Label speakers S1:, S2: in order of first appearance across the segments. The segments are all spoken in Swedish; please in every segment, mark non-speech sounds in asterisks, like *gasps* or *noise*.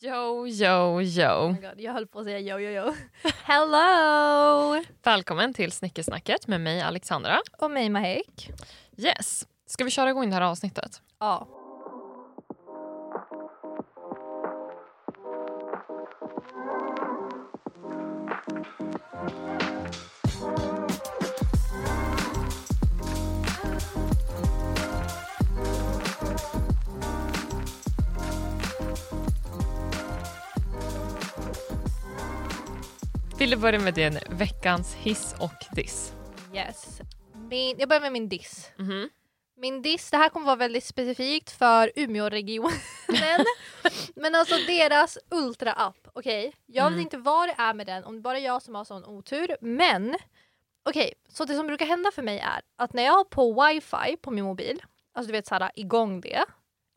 S1: Yo, yo,
S2: Oh
S1: yo.
S2: my God, jag höll på att säga yo, yo, *laughs* yo. Hello!
S1: Välkommen till Snickesnacket med mig Alexandra.
S2: Och mig Mahek.
S1: Yes. Ska vi köra igång det här avsnittet?
S2: Ja.
S1: Vill du börja med din veckans hiss och diss?
S2: Yes. Min, jag börjar med min diss.
S1: Mhm.
S2: Min diss, det här kommer vara väldigt specifikt för Umeåregionen. *laughs* Men alltså deras ultra-app, okej? Jag vet
S1: Mm.
S2: inte vad det är med den, om det bara är jag som har sån otur. Men okej, så det som brukar hända för mig är att när jag har på wifi på min mobil, alltså du vet såhär igång det,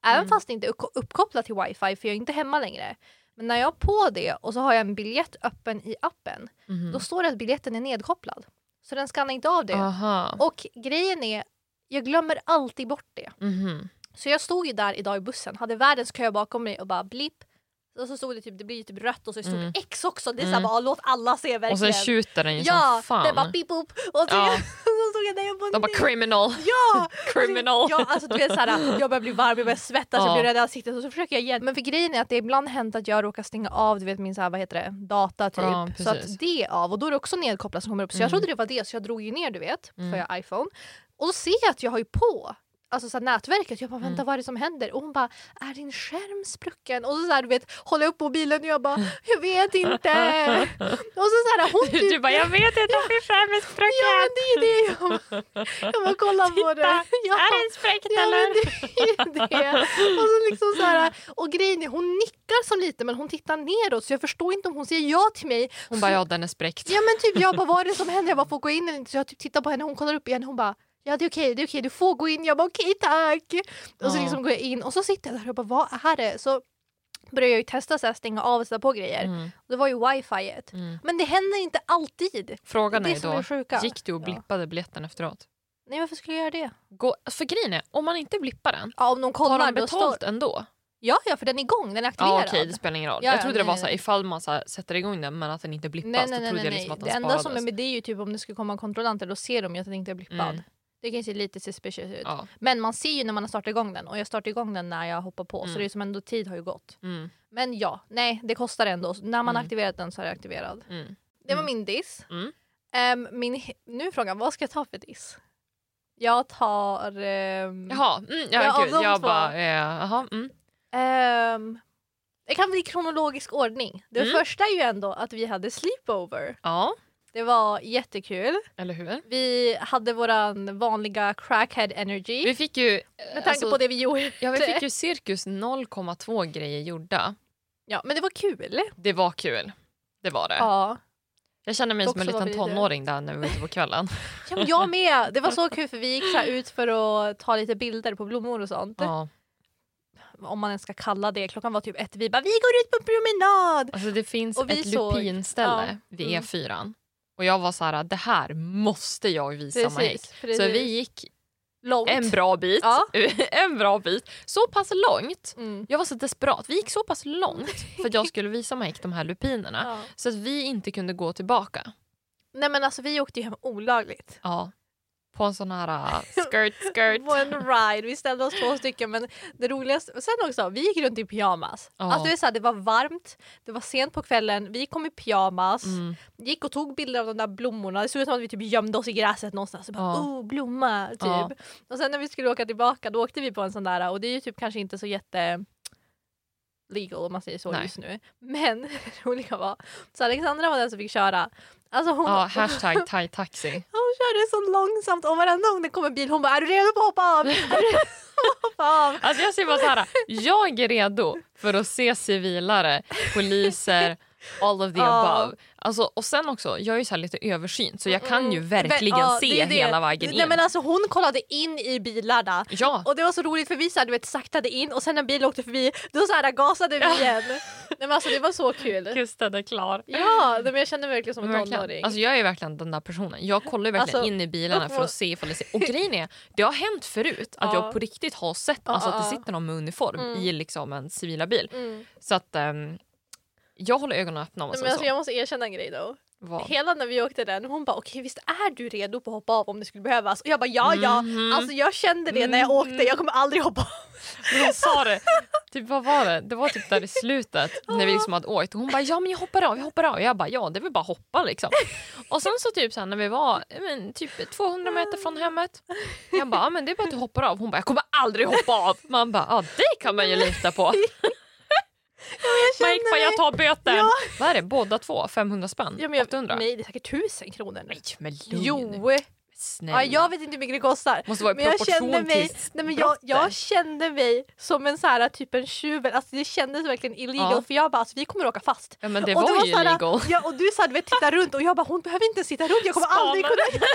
S2: även
S1: Mm.
S2: fast det inte är upp- uppkopplat till wifi för jag är inte hemma längre. Men när jag har på det och så har jag en biljett öppen i appen,
S1: Mhm.
S2: då står det att biljetten är nedkopplad. Så den skannar inte av det.
S1: Ah. Aha.
S2: Och grejen är, jag glömmer alltid bort det.
S1: Mhm.
S2: Så jag stod ju där idag i bussen, hade världens kö bakom mig och bara blipp. Och så stod det typ, det blir ju typ rött och så stod det
S1: Mm.
S2: X också. Det är
S1: Mm.
S2: såhär bara, låt alla se verkligen.
S1: Och sen tjuter den ju
S2: ja,
S1: som
S2: det bara
S1: liksom, fan.
S2: pip upp. Och så,
S1: Ja.
S2: *laughs* så stod jag där och bara,
S1: De bara
S2: nej.
S1: criminal, *laughs*
S2: Ja! Alltså,
S1: criminal.
S2: Ja, alltså du vet såhär, jag börjar bli varm, jag börjar svettas,
S1: Ja.
S2: jag blir röd i ansiktet och så försöker jag igen. Men för grejen är att det ibland hänt att jag råkar stänga av du vet min såhär, vad heter det, data typ.
S1: Ja,
S2: så
S1: precis.
S2: att det är av och då är det också nedkopplat som kommer upp. Så jag
S1: Mm.
S2: trodde det var det så jag drog ju ner du vet,
S1: Mm.
S2: för jag har iPhone. Och då ser jag att jag har ju på Alltså så här, nätverket, jag bara vänta
S1: Mm.
S2: vad är det som händer? Och hon bara är din skärm sprucken? Och så, så här, du vet håller jag upp mobilen och jag bara jag
S1: *laughs*
S2: vet inte. och så, så här, hon typ,
S1: Du bara, jag vet inte om min skärm är
S2: ja men
S1: sprucken.
S2: det är det jag bara, *laughs* jag bara kollar på det. Ja.
S1: Är den spräckt
S2: Ja, men
S1: eller?
S2: det är ju det. Och, så liksom så här, och grejen är, hon nickar som lite men hon tittar neråt så jag förstår inte om hon säger ja till mig.
S1: Hon bara, ja den är spräckt.
S2: Ja men typ jag bara vad är det som händer? Jag bara får gå in eller inte? Så jag typ tittar på henne, hon kollar upp igen hon bara ja det är okej, det är okej, du får gå in. Jag bara okej tack. Och så
S1: Ja.
S2: liksom går jag in och så sitter jag där och bara vad är det? Så börjar jag ju testa så här, stänga av och sätta på grejer.
S1: Mm.
S2: Det var ju wifiet.
S1: Mm.
S2: Men det händer inte alltid.
S1: Frågan
S2: det
S1: är
S2: som är
S1: då,
S2: det sjuka.
S1: gick du och blippade biljetten efterat?
S2: Nej varför skulle jag göra det?
S1: Gå, för grejen är, om man inte blippar den,
S2: Ja om någon
S1: har
S2: kollar
S1: de
S2: då står...
S1: betalt ändå?
S2: Ja ja för den är igång, den är aktiverad.
S1: Ja okej, det spelar ingen roll.
S2: Ja,
S1: jag
S2: ja,
S1: trodde det
S2: nej,
S1: var så här,
S2: nej.
S1: ifall man så här, sätter igång den men att den inte blippas.
S2: Nej,
S1: då
S2: nej, nej,
S1: trodde
S2: nej,
S1: jag liksom
S2: nej.
S1: att den
S2: Det enda
S1: sparades.
S2: som är med det är ju typ om det skulle komma kontrollanter då ser de ju att den inte är blippad.
S1: Mm.
S2: Det kan se lite suspicious ut.
S1: ja.
S2: Men man ser ju när man har startat igång den och jag startade igång den när jag hoppar på
S1: Mm.
S2: så det är som ändå tid har ju gått.
S1: mm,
S2: Men ja, nej det kostar ändå. Så När man
S1: Mm.
S2: aktiverat den så är jag aktiverad.
S1: mm.
S2: Det var
S1: Mm.
S2: min diss.
S1: Mm.
S2: Ehm, min, he- nu är frågan, vad ska jag ta för diss? Jag tar... ehm,
S1: Jaha, mm,
S2: Ja,
S1: ja,
S2: av
S1: gud,
S2: de
S1: jag
S2: två.
S1: bara, eh, jaha. Mm,
S2: ehm, det kan bli i kronologisk ordning. Det
S1: Mm.
S2: första är ju ändå att vi hade sleepover.
S1: ja,
S2: Det var jättekul.
S1: eller hur?
S2: Vi hade våran vanliga crackhead energy.
S1: Vi fick ju, eh,
S2: med tanke
S1: alltså,
S2: på det vi gjorde.
S1: ja, vi fick ju cirkus 0,2 grejer gjorda.
S2: Ja, men det var kul.
S1: Det var kul. Det var det.
S2: Ja.
S1: Jag kände mig
S2: Dock
S1: som en
S2: så var
S1: liten
S2: vi det.
S1: tonåring där när vi var ute på
S2: *laughs*
S1: kvällen.
S2: ja men jag med. Det var så kul för vi gick så här ut för att ta lite bilder på blommor och sånt.
S1: ja.
S2: Om man ens ska kalla det. Klockan var typ ett. Vi bara vi går ut på en promenad.
S1: Alltså det finns
S2: Och vi
S1: ett
S2: såg-
S1: lupinställe
S2: ja,
S1: vid
S2: mm.
S1: E4 och jag var så här, det här måste jag visa mig. Så vi gick
S2: Långt.
S1: en bra bit,
S2: Ja.
S1: *laughs* en bra bit, så pass långt.
S2: Mm.
S1: Jag var så desperat, vi gick så pass långt för att jag skulle visa mig de här lupinerna
S2: Ja.
S1: så att vi inte kunde gå tillbaka.
S2: Nej men alltså vi åkte ju hem olagligt.
S1: Ja. På en sån här uh, skirt skirt.
S2: På en ride, vi ställde oss två stycken men det roligaste, och sen också, vi gick runt i pyjamas.
S1: Ja.
S2: Alltså det, är så här, det var varmt, det var sent på kvällen, vi kom i pyjamas.
S1: Mm.
S2: gick och tog bilder av de där blommorna. Det såg ut som att vi typ gömde oss i gräset någonstans. Och bara,
S1: Ja.
S2: oh, blomma, typ.
S1: Ja.
S2: Och sen när vi skulle åka tillbaka då åkte vi på en sån där och det är ju typ kanske inte så jätte legal om man säger så
S1: Nej.
S2: just nu. Men *laughs* det roliga var så Alexandra var den som fick köra. Alltså hon,
S1: Ja, hashtag thai taxi.
S2: hon körde så långsamt och varenda gång det kom en bil hon bara är du redo på att
S1: *laughs*
S2: hoppa av? Är du redo på att hoppa av?
S1: Alltså jag säger bara så här, jag är redo för att se civilare, poliser, all of the
S2: Ja.
S1: above. Alltså, och sen också, jag är ju så här lite översynt så jag kan ju
S2: Mm,
S1: verkligen
S2: ja,
S1: se
S2: det är det.
S1: hela vägen in.
S2: Nej, men alltså Hon kollade in i bilarna
S1: Ja,
S2: Och det var så roligt för vi så här, du vet, saktade in och sen när bilen åkte förbi då så här, gasade vi igen. men alltså det var *laughs* så kul.
S1: Kusten är klar.
S2: Ja, nej, men jag kände mig verkligen som en tonåring.
S1: Verkligen. Alltså jag är verkligen den där personen. Jag kollar ju verkligen
S2: Alltså,
S1: in i
S2: *laughs*
S1: bilarna för att se ifall det ser... Och grejen är, det har hänt förut att
S2: Ja.
S1: jag på riktigt har sett
S2: Ja,
S1: alltså,
S2: ja,
S1: att det
S2: ja.
S1: sitter någon med uniform
S2: Mm.
S1: i liksom en civila bil.
S2: Mm.
S1: Så att ehm, jag håller ögonen öppna om man
S2: Nej,
S1: säger
S2: men alltså,
S1: så.
S2: jag måste erkänna en grej då.
S1: Vad?
S2: Hela när vi åkte den, hon bara okej visst är du redo på att hoppa av om det skulle behövas? Och jag bara ja ja,
S1: Mhm.
S2: alltså jag kände det när jag åkte, jag kommer aldrig hoppa av.
S1: Men hon sa det. Typ, vad var det? Det var typ där i slutet när vi liksom hade åkt. Och hon bara ja men jag hoppar av, jag hoppar av. Jag bara ja det är väl bara att hoppa liksom. Och sen så typ så här, när vi var eh, men, typ 200 meter från hemmet. Jag bara ja, men det är bara att du hoppar av. Hon bara jag kommer aldrig hoppa av. Man bara ja det kan man ju lita på. Mike bara jag tar böten.
S2: Ja.
S1: Vad är det båda två? 500 spänn?
S2: *laughs* ja, men jag,
S1: 800?
S2: Nej det är säkert tusen kronor.
S1: Nej, men lugn.
S2: jo,
S1: Snälla.
S2: ja, jag vet inte hur mycket det kostar.
S1: Måste vara i
S2: Men jag
S1: proportion
S2: kände mig,
S1: till
S2: nej men jag, jag
S1: brotten.
S2: kände mig som en så här typ en tjuv, alltså det kändes verkligen illegal
S1: Ja.
S2: för jag bara alltså, vi kommer åka fast.
S1: Ja men det
S2: och
S1: var,
S2: du
S1: ju
S2: så här,
S1: illegal.
S2: Ja, och du sa du vet titta runt och jag bara hon behöver inte sitta runt jag kommer aldrig
S1: Spanar.
S2: kunna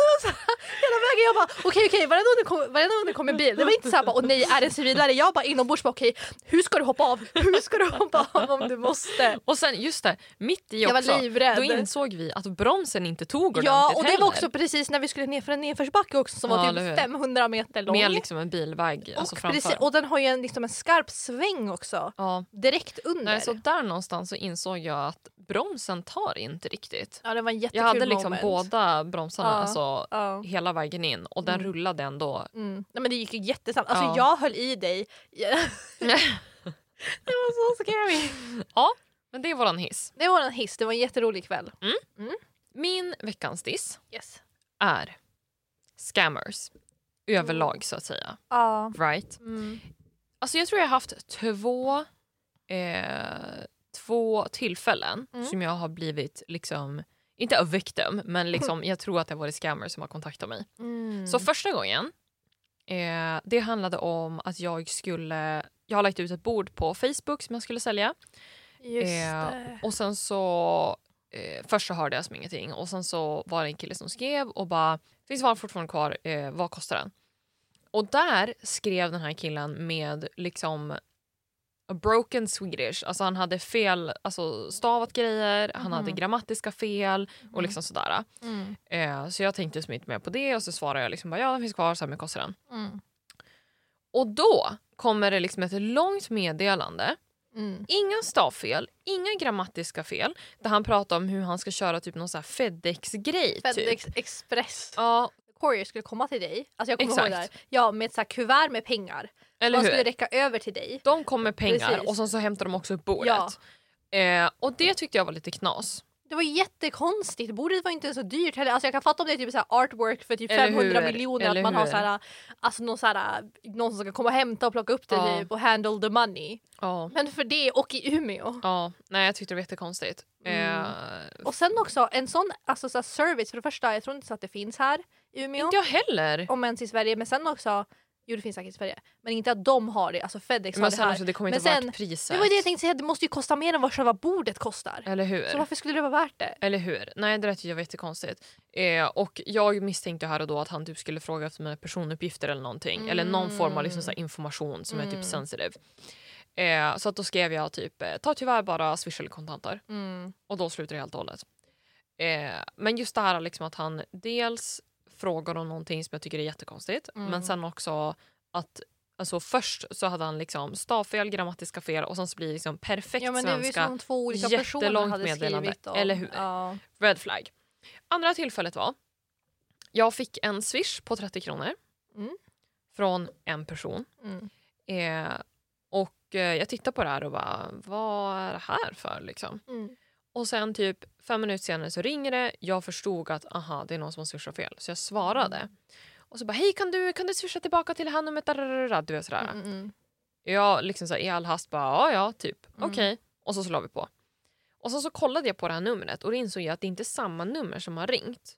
S2: Och så här, Hela vägen jag bara okej okej varenda gång det kom- varenda gång det kom en bil det var inte såhär bara åh nej är det en civilare jag bara inombords bara okej hur ska du hoppa av hur ska du hoppa av om du måste.
S1: Och sen just det, mitt i
S2: Jag var
S1: också,
S2: livrädd.
S1: då insåg vi att bromsen inte tog ordentligt
S2: Ja och det
S1: heller.
S2: var också precis när vi skulle ner för en nedförsbacke också som
S1: Ja,
S2: var
S1: eller hur?
S2: typ 500 meter lång.
S1: Med liksom en bilväg alltså
S2: och,
S1: framför.
S2: precis, och den har ju en, liksom en skarp sväng också
S1: ja.
S2: direkt under.
S1: Nej, så där någonstans så insåg jag att bromsen tar inte riktigt.
S2: Ja det var en jättekul
S1: Jag hade liksom
S2: moment.
S1: båda bromsarna
S2: Ja.
S1: alltså,
S2: Ja.
S1: hela vägen in och den
S2: Mm.
S1: rullade ändå.
S2: Mm. Nej, men det gick ju jättesnabbt. Alltså
S1: Ja.
S2: jag höll i dig. *laughs* det var så scary.
S1: Men det är våran hiss.
S2: Det var en hiss, det var en jätterolig kväll.
S1: Min veckans diss
S2: Yes.
S1: är scammers överlag så att säga.
S2: Ja.
S1: Right?
S2: Mm.
S1: Alltså jag tror jag har haft två, eh, två tillfällen
S2: Mm.
S1: som jag har blivit, liksom, inte a victim,
S2: *laughs*
S1: men liksom, jag tror att det har varit scammers som har kontaktat mig.
S2: Mm.
S1: Så första gången, eh, det handlade om att jag skulle, jag har lagt ut ett bord på Facebook som jag skulle sälja.
S2: Just
S1: eh,
S2: det.
S1: Och sen så, eh, först så hörde jag som ingenting och sen så var det en kille som skrev och bara, finns varan fortfarande kvar, eh, vad kostar den? Och där skrev den här killen med liksom a broken Swedish, alltså han hade fel, alltså stavat grejer, han hade
S2: Mhm.
S1: grammatiska fel och liksom sådär.
S2: Mm.
S1: Eh, så jag tänkte liksom inte mer på det och så svarade jag liksom bara, ja den finns kvar, så här mycket kostar den.
S2: Mm.
S1: Och då kommer det liksom ett långt meddelande
S2: Mm.
S1: Inga stavfel, inga grammatiska fel. Där han pratar om hur han ska köra typ någon så här Fedex-grej. Typ.
S2: Fedex Express.
S1: Ja,
S2: Courier skulle komma till dig, alltså jag kommer ihåg det
S1: Exakt.
S2: där. Ja, med ett så här kuvert med pengar.
S1: eller
S2: Man skulle
S1: hur?
S2: räcka över till dig.
S1: De kom med pengar
S2: Precis.
S1: och sen så hämtar de också upp bordet. Eh, och det tyckte jag var lite knas.
S2: Det var jättekonstigt, bordet var inte ens så dyrt heller. Alltså jag kan fatta om det är typ så här artwork för typ
S1: Eller
S2: 500
S1: hur?
S2: miljoner
S1: Eller
S2: att man har
S1: hur?
S2: så här, alltså någon, så här, någon som ska komma och hämta och plocka upp det
S1: Ja.
S2: typ och handle the money.
S1: Ja.
S2: Men för det och i Umeå.
S1: ja, nej jag tyckte det var jättekonstigt. Eh,
S2: Och sen också en sån alltså, så här service, för det första jag tror inte så att det finns här i Umeå.
S1: Inte jag heller.
S2: Om ens i Sverige, men sen också, jo det finns säkert i Sverige, men inte att de har det, alltså Fedex har
S1: Men
S2: det
S1: sen
S2: här.
S1: också, det kommer
S2: Men
S1: inte vara
S2: sen-
S1: värt priset.
S2: det var ju det jag tänkte säga, det måste ju kosta mer än vad själva bordet kostar.
S1: Eller hur?
S2: Så varför skulle det vara värt det?
S1: Eller hur? Nej, det där tyckte jag var jättekonstigt. Eh, och jag misstänkte här och då att han typ skulle fråga efter mina personuppgifter eller någonting. Eller någon form av liksom så här information som är typ
S2: Mm.
S1: sensitive. Eh, så att då skrev jag typ eh, ta tyvärr bara swish eller kontanter. Och då slutade det helt och hållet. Eh, men just det här liksom att han dels frågar om någonting som jag tycker är jättekonstigt.
S2: Mm.
S1: Men sen också att Alltså först så hade han liksom stavfel, grammatiska fel och sen så blir det liksom perfekt
S2: Ja men det var ju
S1: svenska.
S2: som om två olika personer
S1: jättelångt
S2: hade
S1: meddelande,
S2: skrivit om.
S1: eller hur?
S2: Ja.
S1: Red flag. Andra tillfället var jag fick en swish på 30 kronor
S2: Mm.
S1: från en person.
S2: Mm.
S1: Eh, och eh, Jag tittade på det här och bara, vad är det här för? Liksom.
S2: Mm.
S1: Och sen typ fem minuter senare så ringer det. Jag förstod att aha, det är någon som har swishat fel, så jag svarade.
S2: Mm.
S1: Och så bara, hej kan du, kan du swisha tillbaka till det här numret? Dararara, Du vet sådär.
S2: Mm, mm,
S1: Jag liksom så här, i all hast bara, ja ja, typ,
S2: Mm.
S1: okej. Och så, så la vi på. Och sen så kollade jag på det här numret och då insåg jag att det inte är samma nummer som har ringt.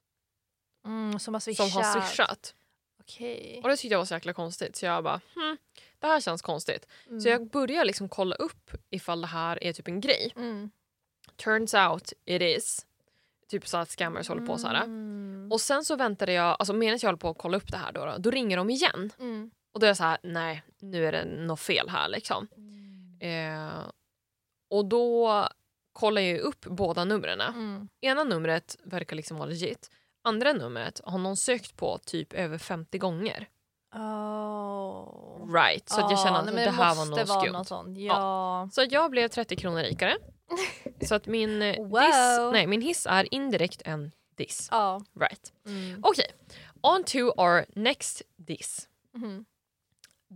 S2: mm. Mm, som har swishat.
S1: som har swishat.
S2: Okej.
S1: Och det tyckte jag var så jäkla konstigt så jag bara hmm, det här känns konstigt.
S2: Mm.
S1: Så jag började liksom kolla upp ifall det här är typ en grej.
S2: mm.
S1: Turns out it is. Typ så att scammers håller på så här.
S2: Mm.
S1: Och sen så väntade jag, alltså medan jag höll på att kolla upp det här då, då, då ringer de igen.
S2: Mm. Mm.
S1: Och då är jag så här, nej nu är det något fel här liksom. Eh, Och då kollar jag ju upp båda numren.
S2: Mm.
S1: Ena numret verkar liksom vara legit. Andra numret har någon sökt på typ över 50 gånger.
S2: Oh.
S1: Right, så att jag
S2: Ja,
S1: känner att
S2: nej,
S1: det
S2: men
S1: här var
S2: måste
S1: något
S2: vara
S1: skumt.
S2: något sånt. Ja.
S1: Så jag blev 30 kronor rikare. så att min,
S2: *laughs*
S1: eh,
S2: Wow.
S1: diss, nej, min hiss är indirekt en diss.
S2: ja.
S1: Right.
S2: Mm.
S1: Okej, on to our next diss.
S2: Mhm.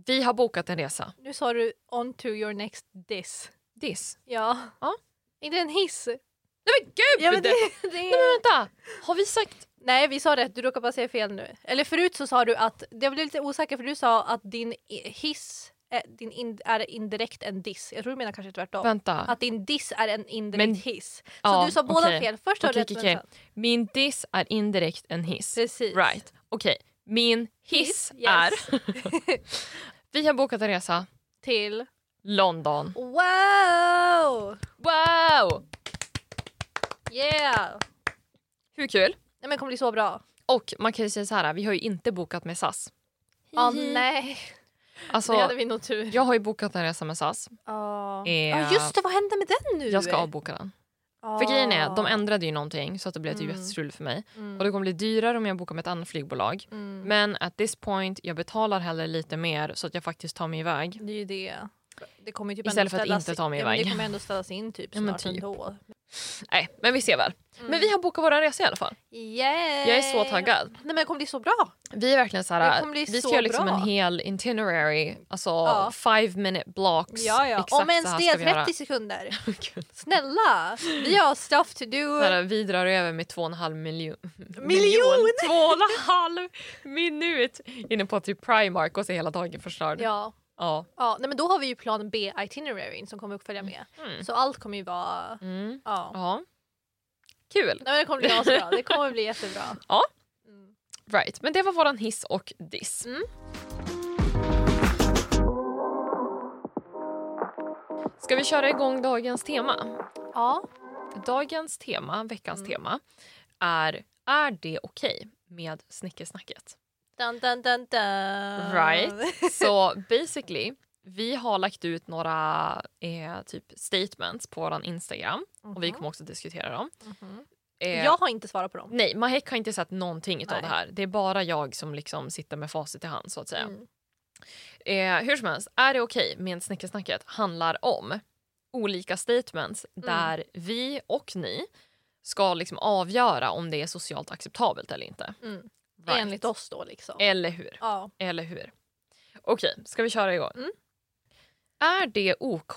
S1: Vi har bokat en resa.
S2: Nu sa du on to your next diss.
S1: Diss?
S2: Ja.
S1: Ja.
S2: Inte en hiss.
S1: Nej men gud!
S2: Ja, men *laughs* det,
S1: Nej men vänta! Har vi sagt...
S2: Nej vi sa rätt, du råkar bara säga fel nu. Eller förut så sa du att, jag blev lite osäker för du sa att din i- hiss är, din in, är indirekt en diss. Jag tror du menar kanske tvärtom.
S1: Vänta.
S2: Att din diss är en indirekt
S1: Men-
S2: hiss. Så
S1: Ja,
S2: du sa båda
S1: okej.
S2: fel. Först har
S1: Okej,
S2: du rätt men
S1: okej,
S2: sen.
S1: Min diss är indirekt en hiss.
S2: Precis.
S1: Right. Okej, min hiss
S2: Hiss, yes.
S1: är...
S2: *laughs*
S1: vi har bokat en resa.
S2: Till
S1: London.
S2: wow!
S1: Wow!
S2: Yeah!
S1: Hur kul?
S2: Nej men det kommer bli så bra.
S1: Och man kan ju säga så här, vi har ju inte bokat med SAS.
S2: Ja nej,
S1: Alltså,
S2: det hade vi nog tur.
S1: jag har ju bokat en resa med SAS.
S2: Ja
S1: Eh,
S2: Ja, just det, vad hände med den nu?
S1: Jag ska avboka den.
S2: Ja.
S1: För grejen är, de ändrade ju någonting så att det blev typ
S2: Mm.
S1: jättestrul för mig.
S2: Mm,
S1: Och det kommer bli dyrare om jag bokar med ett annat flygbolag.
S2: mm.
S1: Men at this point, jag betalar hellre lite mer så att jag faktiskt tar mig iväg.
S2: Det är ju det. Det kommer ju typ
S1: Istället för att
S2: ändå ställas
S1: inte ta mig
S2: in- ja, men
S1: iväg.
S2: Det kommer ändå ställas in typ
S1: Ja,
S2: snart
S1: men typ.
S2: ändå.
S1: Nej, men vi ser väl.
S2: Mm.
S1: Men vi har bokat våra resor i alla fall.
S2: Yay!
S1: Jag är så taggad.
S2: Nej men det kommer bli så bra.
S1: Vi är verkligen så
S2: Eh, Det
S1: här,
S2: kommer bli
S1: vi ska
S2: så
S1: göra liksom
S2: bra.
S1: en hel itinerary, alltså
S2: Ja.
S1: five minute blocks.
S2: Ja, ja.
S1: Exakt
S2: Om ens
S1: så här
S2: det
S1: ska
S2: är
S1: vi göra.
S2: 30 sekunder.
S1: *laughs* Gud.
S2: Snälla! Vi har stuff to do.
S1: Så här, vi drar över med två och en halv miljon.
S2: Miljon!
S1: Två och en halv minut inne på typ Primark och så är hela dagen förstörd.
S2: Ja.
S1: Ja.
S2: ja. Nej men då har vi ju plan B itineraryn som kommer att följa med.
S1: Mm.
S2: Så allt kommer ju vara...
S1: Mm.
S2: Ja.
S1: ja. Kul.
S2: Nej men det kommer bli asbra. Det kommer bli jättebra.
S1: *laughs* Ja.
S2: Mm.
S1: Right. Men det var våran hiss och diss.
S2: Mm.
S1: Ska vi köra igång dagens tema?
S2: Ja.
S1: Dagens tema, veckans
S2: Mm.
S1: tema, är Är det okej med snickesnacket?
S2: *laughs* Dun, dun, dun, dun.
S1: Right.
S2: *laughs*
S1: Så basically, vi har lagt ut några eh, typ statements på vår Instagram och vi
S2: Mhm,
S1: kommer också diskutera dem.
S2: mhm.
S1: Eh,
S2: Jag har inte svarat på dem.
S1: Nej, Mahek har inte sett någonting av
S2: Nej.
S1: det här. Det är bara jag som liksom sitter med facit i hand. så att säga.
S2: Mm.
S1: Eh, hur som helst, är det okej med snickersnacket handlar om olika statements
S2: Mm.
S1: där vi och ni ska liksom avgöra om det är socialt acceptabelt eller inte.
S2: Mm.
S1: Right. Eh.
S2: Enligt oss då liksom.
S1: Eller hur?
S2: Ja.
S1: Eller hur? Okej, ska vi köra igång?
S2: Mm.
S1: Är det OK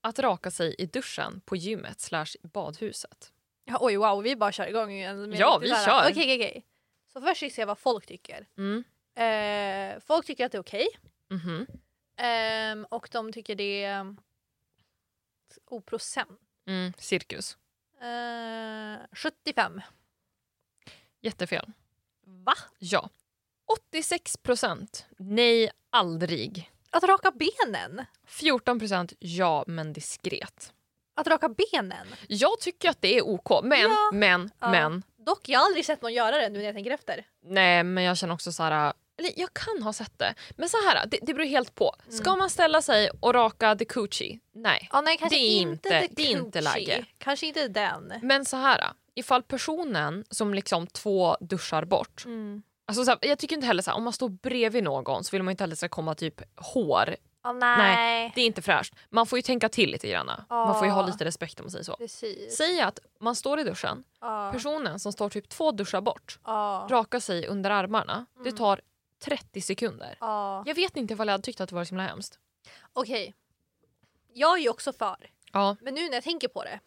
S1: att raka sig i duschen på gymmet slash badhuset?
S2: Ja, Oj wow, vi bara kör igång. igen med
S1: Ja,
S2: lite
S1: vi
S2: så här-
S1: kör.
S2: Okej, okej, okej. Så först ska vi se vad folk tycker.
S1: Mm.
S2: Eh, folk tycker att det är okej
S1: Mhm.
S2: Ehm, och de tycker det är oprocent.
S1: Mm. Cirkus.
S2: Eh, 75.
S1: Jättefel.
S2: Va?
S1: Ja. 86 procent nej, aldrig.
S2: Att raka benen?
S1: 14 procent ja, men diskret.
S2: Att raka benen?
S1: Jag tycker att det är OK, men,
S2: Ja.
S1: men,
S2: Ja.
S1: men.
S2: Dock, jag har aldrig sett någon göra det nu när jag tänker efter.
S1: Nej, men jag känner också så här... Eller jag kan ha sett det. Men så här, det, det beror helt på.
S2: Mm.
S1: Ska man ställa sig och raka the coochie? Nej.
S2: Ja, nej, kanske
S1: Det är
S2: inte,
S1: inte-
S2: the
S1: det är inte Mm.
S2: coochie.
S1: läge.
S2: Kanske inte den.
S1: Men så här, ifall personen som liksom två duschar bort.
S2: Mm.
S1: Alltså så här, jag tycker inte heller så här, om man står bredvid någon så vill man inte heller ska komma typ hår.
S2: Ja, nej.
S1: Det är inte fräscht. Man får ju tänka till lite grann. Man får ju ha lite respekt om man säger så.
S2: Precis.
S1: Säg att man står i duschen,
S2: Ja.
S1: personen som står typ två duschar bort
S2: Ja.
S1: rakar sig under armarna. Det
S2: Mm.
S1: tar 30 sekunder.
S2: Ja.
S1: Jag vet inte ifall jag hade tyckt att det var så himla hemskt.
S2: Okej. Jag är ju också för.
S1: Ja.
S2: Men nu när jag tänker på det.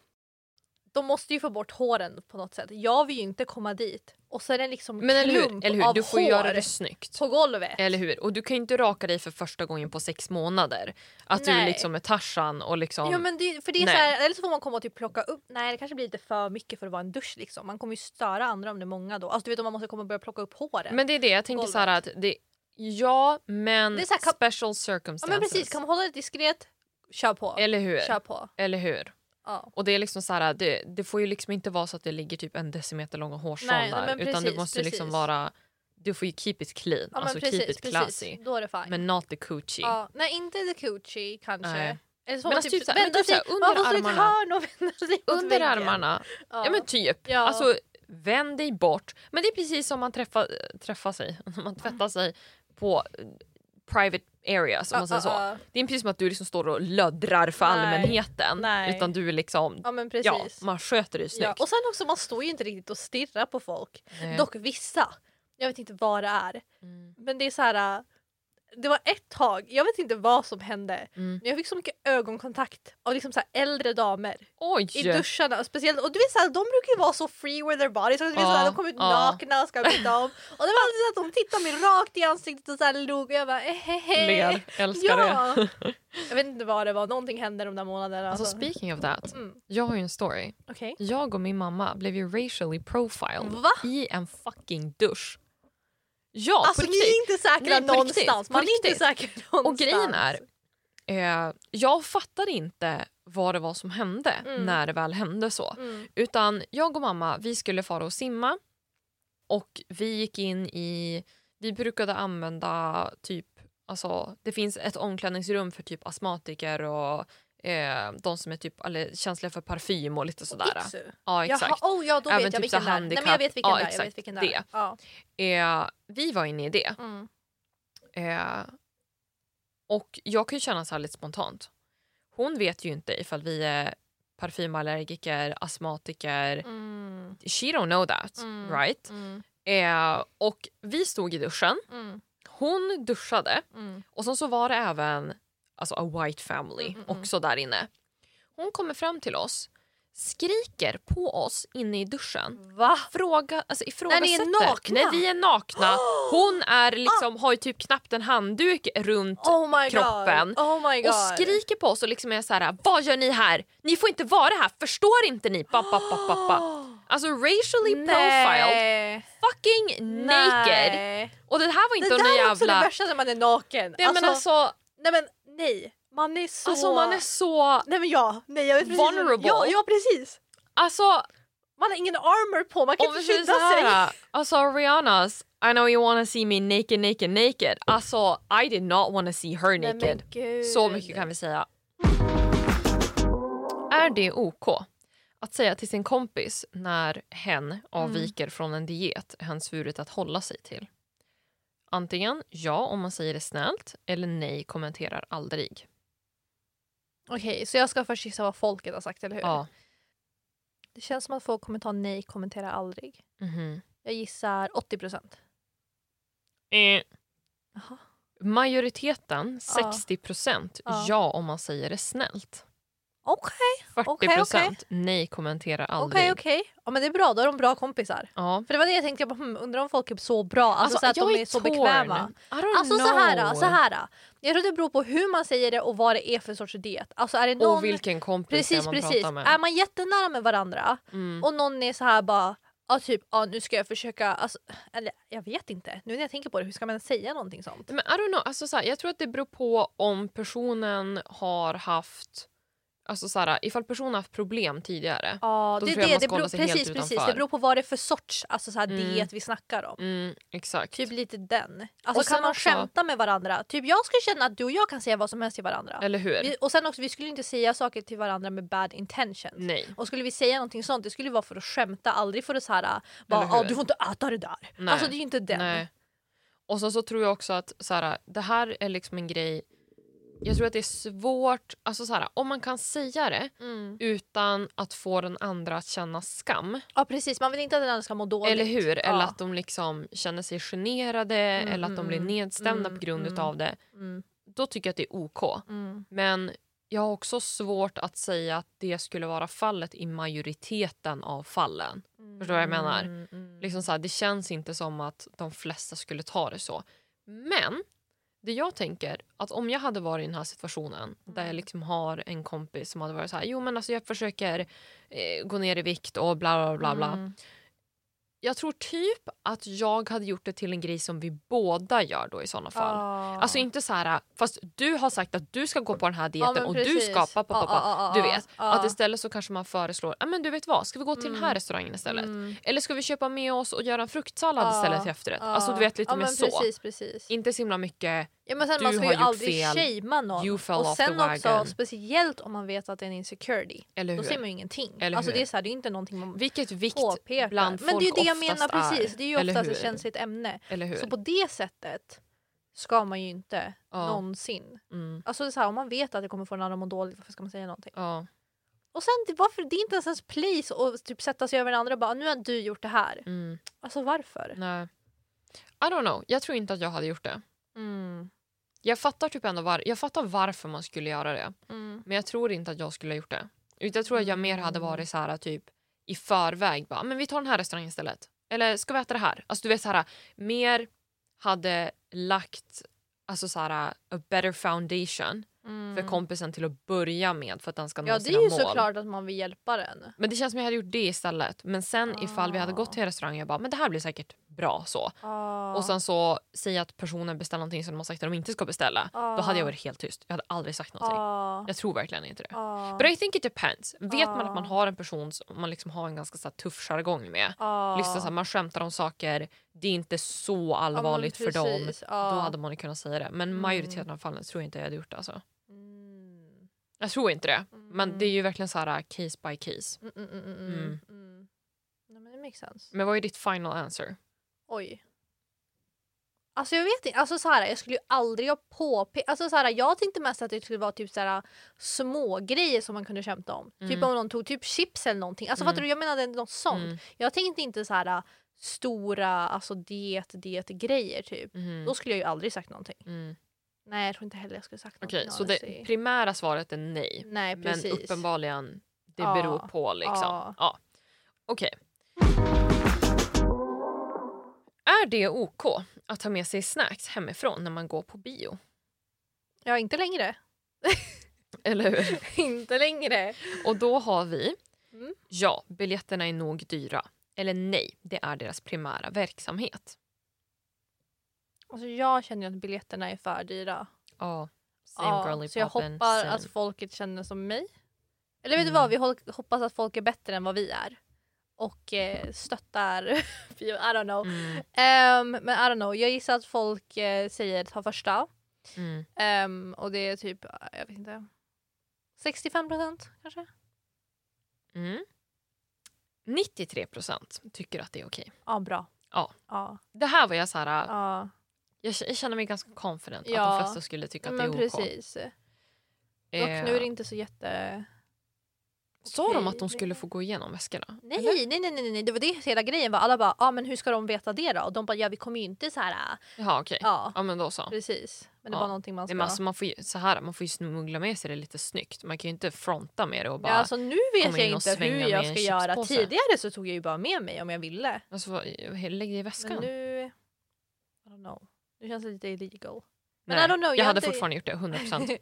S2: De måste ju få bort håren på något sätt. Jag vill ju inte komma dit. Och så är det liksom
S1: Men eller hur?
S2: klump
S1: Eller hur?
S2: av
S1: Du får
S2: hår
S1: göra det snyggt.
S2: på golvet.
S1: Eller hur? Och du kan ju inte raka dig för första gången på sex månader. Att du
S2: Nej.
S1: liksom är Tarzan och liksom...
S2: Ja, men det, för det är så
S1: Nej.
S2: här, eller så får man komma och typ plocka upp. Nej det kanske blir lite för mycket för att vara en dusch. Liksom. Man kommer ju störa andra om det är många då. Alltså, du vet om man måste komma och börja plocka upp håren.
S1: Men det är det, jag tänker
S2: Golvet.
S1: så här att det... Ja, men
S2: Det är så här, kan-
S1: special
S2: ja,
S1: circumstances.
S2: men precis, kan man hålla det diskret, kör på.
S1: Eller hur?
S2: Kör på.
S1: Eller hur?
S2: Ja.
S1: Och det är liksom så här, det, det får ju liksom inte vara så att det ligger typ en decimeter långa hårstrån
S2: Nej, nej,
S1: där.
S2: men
S1: utan det
S2: precis,
S1: måste liksom
S2: precis.
S1: vara... Du får ju keep it clean.
S2: Ja, men
S1: alltså keep
S2: precis,
S1: it classy.
S2: precis. Då är det fine.
S1: Men not the coochie.
S2: ja, nej inte the coochie kanske.
S1: Nej.
S2: Eller så får
S1: Men
S2: man
S1: alltså typ
S2: typ
S1: så här- men
S2: vända
S1: typ så
S2: sig,
S1: här under
S2: man får stå i ett
S1: armarna.
S2: hörn och *laughs* vända sig mot
S1: Under
S2: väggen.
S1: armarna. Ja. men typ.
S2: Ja.
S1: Alltså, vänd dig bort. Men det är precis som man träffar, träffar sig, *laughs* när man tvättar sig på eh, private area som
S2: Ja,
S1: man säger
S2: ja,
S1: så.
S2: ja.
S1: Det är inte precis som att du liksom står och löddrar för
S2: Nej.
S1: allmänheten.
S2: Nej.
S1: Utan du är liksom,
S2: Ja men
S1: ja,
S2: precis.
S1: man sköter det snyggt.
S2: Ja, och sen också man står ju inte riktigt och stirrar på folk.
S1: Nej.
S2: Dock vissa. Jag vet inte vad det är.
S1: Mm.
S2: Men det är så här. äh, Det var ett tag, jag vet inte vad som hände.
S1: Mm.
S2: Men jag fick så mycket ögonkontakt av liksom så här äldre damer
S1: Oj!
S2: i duscharna. Och Speciellt, och du vet så här, de brukar ju vara så free with their bodies. Och du vet,
S1: Ja,
S2: så här, de kom ut
S1: ja.
S2: nakna och ska byta om. Och det var alltid så att de tittade mig rakt i ansiktet och så här log. Och jag bara ehehe.
S1: Ler, älskar det.
S2: Ja. Alltså. Jag vet inte vad det var, någonting hände de där månaderna.
S1: Alltså speaking of that,
S2: Mm.
S1: jag har ju en story.
S2: Okej.
S1: Jag och min mamma blev ju racially profiled
S2: Va?
S1: i en fucking dusch. Ja,
S2: Alltså
S1: på
S2: ni
S1: riktigt.
S2: är inte säkra
S1: Nej, på
S2: någonstans.
S1: riktigt, på
S2: Man är inte
S1: riktigt.
S2: säker *laughs* någonstans.
S1: Och grejen är, eh, jag fattade inte vad det var som hände
S2: Mm.
S1: när det väl hände så.
S2: Mm.
S1: Utan jag och mamma, vi skulle fara och simma och vi gick in i, vi brukade använda typ, alltså det finns ett omklädningsrum för typ astmatiker och eh, de som är typ eller, känsliga för parfym och lite sådär.
S2: Itsu.
S1: Ja
S2: Jaha,
S1: exakt.
S2: oh, ja då
S1: Även
S2: vet jag
S1: typ så
S2: vilken
S1: här
S2: där. Nej men jag vet vilken
S1: handikapp. Ja,
S2: där. Jag vet
S1: exakt,
S2: vilken där.
S1: det.
S2: Ja.
S1: Eh, vi var inne i det.
S2: Mm.
S1: Eh, och jag kan ju känna så här lite spontant. Hon vet ju inte ifall vi är parfymallergiker, astmatiker.
S2: Mm.
S1: She don't know that,
S2: Mm.
S1: right?
S2: Mm.
S1: Eh, och vi stod i duschen,
S2: Mm.
S1: hon duschade
S2: Mm.
S1: och sen så var det även alltså a white family
S2: Mm, mm, mm.
S1: också där inne. Hon kommer fram till oss, skriker på oss inne i duschen.
S2: Va?
S1: Fråga, alltså ifrågasätter.
S2: När ni är nakna?
S1: När vi är
S2: *gasps*
S1: nakna. Hon är liksom, har ju typ knappt en handduk runt
S2: Oh my
S1: kroppen.
S2: god. Oh my god.
S1: och skriker på oss och liksom är så här: vad gör ni här? Ni får inte vara här, förstår inte ni? Ba, ba, ba, ba,
S2: *gasps*
S1: ba. Alltså racially profiled,
S2: Nej.
S1: fucking naked.
S2: Nej.
S1: Och det här var
S2: Det
S1: inte någon
S2: där är också det
S1: jävla...
S2: värsta när man är naken.
S1: Nej, men alltså,
S2: nej men nej. Man är så...
S1: alltså man är så...
S2: Nej men ja. Nej, jag vet precis.
S1: Vulnerable.
S2: Ja, ja precis.
S1: Alltså
S2: Man har ingen armor på, man kan
S1: om
S2: inte
S1: vi säger
S2: skydda
S1: så
S2: sig.
S1: här, alltså Rihannas I know you wanna see me naked naked naked. Alltså I did not wanna see her
S2: Nej,
S1: naked.
S2: men gud.
S1: Så mycket kan vi säga. Är det OK att säga till sin kompis när hen
S2: Mm.
S1: avviker från en diet hen svurit att hålla sig till? Antingen ja om man säger det snällt eller nej kommenterar aldrig.
S2: Okej, så jag ska först gissa vad folket har sagt, eller hur?
S1: Ja.
S2: Det känns som att folk kommer ta nej, kommentera aldrig.
S1: Mhm.
S2: Jag gissar 80 procent.
S1: Eh.
S2: Jaha.
S1: Majoriteten, 60
S2: Ja.
S1: ja. ja om man säger det snällt.
S2: Okej,
S1: 40
S2: Okej, okej.
S1: nej kommenterar aldrig.
S2: okej, okej. Ja men det är bra, då är de bra kompisar.
S1: Ja.
S2: För det var det jag tänkte, jag bara, hmm, undrar om folk är så bra, alltså, så att
S1: jag
S2: de är så
S1: torn.
S2: bekväma.
S1: I don't
S2: Alltså
S1: know.
S2: så här, så här. Jag tror det beror på hur man säger det och vad det är för sorts diet. Alltså är det någon...
S1: Och vilken kompis
S2: precis,
S1: det är man
S2: precis.
S1: pratar med.
S2: Är man jättenära med varandra
S1: Mm.
S2: och någon är så här bara Ja typ, ja, nu ska jag försöka, alltså, eller jag vet inte, nu när jag tänker på det, hur ska man säga någonting sånt?
S1: Men I don't know. Alltså, så här, jag tror att det beror på om personen har haft... Alltså, så här, ifall personen har haft problem tidigare.
S2: Ja,
S1: Då
S2: det, är
S1: tror jag
S2: det,
S1: man
S2: det
S1: ska hålla
S2: beror,
S1: sig helt
S2: precis, precis,
S1: utanför.
S2: det beror på vad det är för sorts alltså så här,
S1: Mm.
S2: diet vi snackar om.
S1: Mm, exakt.
S2: Typ lite den. Alltså
S1: Och
S2: kan
S1: sen
S2: man
S1: också-
S2: skämta med varandra? Typ jag skulle känna att du och jag kan säga vad som helst till varandra.
S1: Eller hur?
S2: Vi, och sen också, vi skulle inte säga saker till varandra med bad intentions.
S1: Nej.
S2: Och skulle vi säga någonting sånt, det skulle vara för att skämta, aldrig för att så här, bara,
S1: Eller hur?
S2: ah, du får inte äta det där.
S1: Nej.
S2: Alltså det är ju inte den.
S1: Nej. Och sen så tror jag också att så här, det här är liksom en grej... Jag tror att det är svårt... Alltså, så här, om man kan säga det
S2: Mm.
S1: utan att få den andra att känna skam,
S2: Ja precis, man vill inte att den andra ska må dåligt.
S1: eller hur? Eller
S2: Ja.
S1: att de liksom känner sig generade eller att de blir
S2: mm,
S1: nedstämda
S2: mm,
S1: på grund
S2: mm.
S1: av det.
S2: Mm,
S1: Då tycker jag att det är OK.
S2: mm.
S1: Men jag har också svårt att säga att det skulle vara fallet i majoriteten av fallen. Förstår vad jag menar?
S2: Mm, mm.
S1: Liksom så här, det känns inte som att de flesta skulle ta det så. Men det jag tänker, att om jag hade varit i den här situationen där jag liksom har en kompis som hade varit så här, jo men alltså jag försöker eh, gå ner i vikt och bla bla bla. bla.
S2: Mm.
S1: Jag tror typ att jag hade gjort det till en grej som vi båda gör då i sådana fall.
S2: Ah.
S1: Alltså inte så här, fast du har sagt att du ska gå på den här dieten
S2: men
S1: och du
S2: precis.
S1: ska pappa, pappa,
S2: Ja, ja, ja,
S1: du
S2: ja,
S1: vet.
S2: ja.
S1: Att istället så kanske man föreslår, "Ah, men du vet vad, ska vi gå till den här restaurangen istället?
S2: Mm.
S1: Eller ska vi köpa med oss och göra en fruktsallad
S2: Ja,
S1: istället till efterrätt?
S2: Ja.
S1: Alltså du vet lite
S2: ja,
S1: mer
S2: men
S1: så.
S2: Precis, precis.
S1: Inte så himla mycket,
S2: Ja, men sen,
S1: Du
S2: man ska
S1: har
S2: ju
S1: gjort
S2: aldrig
S1: fel.
S2: shamea någon.
S1: You fell
S2: Och
S1: off the
S2: sen också
S1: wagon.
S2: speciellt om man vet att det är en insecurity.
S1: Eller
S2: Då
S1: hur?
S2: ser man ju ingenting.
S1: Eller
S2: alltså,
S1: hur?
S2: det, är så här, det är inte någonting man
S1: Vilket vikt
S2: påpekar.
S1: bland
S2: men det är ju
S1: folk
S2: det jag
S1: oftast
S2: menar precis.
S1: är.
S2: Det är ju
S1: Eller
S2: oftast ett
S1: hur?
S2: känsligt ämne.
S1: Eller hur?
S2: Så på det sättet ska man ju inte
S1: Ja.
S2: någonsin.
S1: Mm.
S2: Alltså det är så här, om man vet att det kommer få den andra att må dåligt, varför ska man säga någonting?
S1: Ja.
S2: Och sen det- varför, det är inte ens ens place att typ sätta sig över den andra och bara nu har du gjort det här.
S1: Mm.
S2: Alltså varför?
S1: Nej. I don't know. Jag tror inte att jag hade gjort det.
S2: Mm.
S1: Jag fattar typ ändå var- jag fattar varför man skulle göra det.
S2: Mm.
S1: Men jag tror inte att jag skulle ha gjort det. Utan jag tror att jag mer hade
S2: Mm.
S1: varit så här typ i förväg. Bara, men vi tar den här restaurangen istället. Eller ska vi äta det här? Alltså du vet så här mer hade lagt alltså så här a better foundation
S2: Mm.
S1: för kompisen till att börja med för att den ska nå
S2: Ja det
S1: sina
S2: är ju
S1: mål.
S2: såklart att man vill hjälpa den.
S1: Men det känns som jag hade gjort det istället. Men sen ifall vi hade gått till restaurangen jag bara men det här blir säkert bra så.
S2: Ah.
S1: Och sen så säga att personen beställer någonting som de har sagt att de inte ska beställa.
S2: Ah.
S1: Då hade jag varit helt tyst. Jag hade aldrig sagt någonting.
S2: Ah.
S1: Jag tror verkligen inte det.
S2: Ah.
S1: But I think it depends. Vet man
S2: Ja.
S1: att man har en person som man liksom har en ganska så här, tuff jargong med.
S2: Ah.
S1: Lyssna, så här, man skämtar om saker, det är inte så
S2: Ja, men
S1: allvarligt för dem.
S2: precis. Ah. Ja.
S1: Då hade man ju kunnat säga det. Men
S2: Mm.
S1: majoriteten av fallen tror jag inte jag hade gjort det. Alltså.
S2: Mm.
S1: Jag tror inte det. Men
S2: Mm.
S1: det är ju verkligen så här uh, case by case.
S2: Mm, mm, mm, mm, mm.
S1: Mm.
S2: Mm. Nej, men det makes sense.
S1: Men vad är ditt final answer?
S2: Oj. Alltså jag vet inte, alltså så här, jag skulle ju aldrig ha påpekat, alltså så här, jag tänkte mest att det skulle vara typ så här, små grejer som man kunde skämta om. Typ
S1: Mm.
S2: om någon tog typ chips eller någonting. Alltså
S1: Mm.
S2: fattar du, jag menade något sånt.
S1: Mm.
S2: Jag tänkte inte så här stora alltså diet, diet grejer typ.
S1: Mhm.
S2: Då skulle jag ju aldrig sagt någonting.
S1: Mm.
S2: Nej jag tror inte heller jag skulle sagt
S1: Okej,
S2: någonting.
S1: så det
S2: honestly.
S1: primära svaret är nej.
S2: Nej
S1: Men
S2: precis.
S1: uppenbarligen, det
S2: Ja.
S1: beror på liksom.
S2: Ja.
S1: Ja. Okej. Är det OK att ta med sig snacks hemifrån när man går på bio?
S2: Ja
S1: *laughs*
S2: inte längre.
S1: Eller
S2: *laughs*
S1: hur?
S2: inte längre.
S1: Och då har vi
S2: Mm.
S1: ja, biljetterna är nog dyra. Eller nej, det är deras primära verksamhet.
S2: Alltså jag känner ju att biljetterna är för dyra.
S1: Ja, same
S2: Ja,
S1: girly
S2: så jag alltså
S1: poppen,
S2: hoppas
S1: same.
S2: att folket känner som mig. Eller vet du
S1: Mm.
S2: vad, vi hol- hoppas att folk är bättre än vad vi är. Och eh, stöttar *laughs* bio, I don't know.
S1: Mm,
S2: Ehm, men I don't know, jag gissar att folk eh, säger ta första.
S1: mm.
S2: Ehm, och det är typ, jag vet inte. 65 procent kanske?
S1: Mm. 93 procent tycker att det är okej.
S2: Ja, bra.
S1: Ja.
S2: Ja,
S1: Det här var jag så här,
S2: ja.
S1: jag, k- jag känner mig ganska confident att
S2: Ja.
S1: de flesta skulle tycka att det är
S2: men
S1: OK.
S2: precis. Och
S1: Eh,
S2: nu är det inte så jätte...
S1: Sa de att de
S2: okej.
S1: skulle få gå igenom väskorna?
S2: Nej,
S1: Eller?
S2: nej, nej, nej, nej, det var det hela grejen var. Alla bara, ja ah, men hur ska de veta det då? Och de bara, ja vi kommer ju inte så här.
S1: Jaha okej. Ja.
S2: Ja,
S1: men då så.
S2: precis. Men det
S1: Ja.
S2: var någonting man
S1: Nej,
S2: ska...
S1: men alltså, man, får ju, så här, man får ju smuggla med sig det lite snyggt. Man kan ju inte fronta med det och
S2: ja,
S1: bara...
S2: alltså, nu vet
S1: komma
S2: jag
S1: in och
S2: inte hur
S1: svänga med
S2: jag
S1: en
S2: ska göra.
S1: chipspåse.
S2: Tidigare så tog jag ju bara med mig om jag ville.
S1: alltså, vad- lägg det i väskan.
S2: Men nu... I don't know. Nu känns det lite illegal. men
S1: Nej,
S2: I don't know,
S1: jag,
S2: jag
S1: hade
S2: hade-
S1: fortfarande gjort det,
S2: *laughs*
S1: 100%.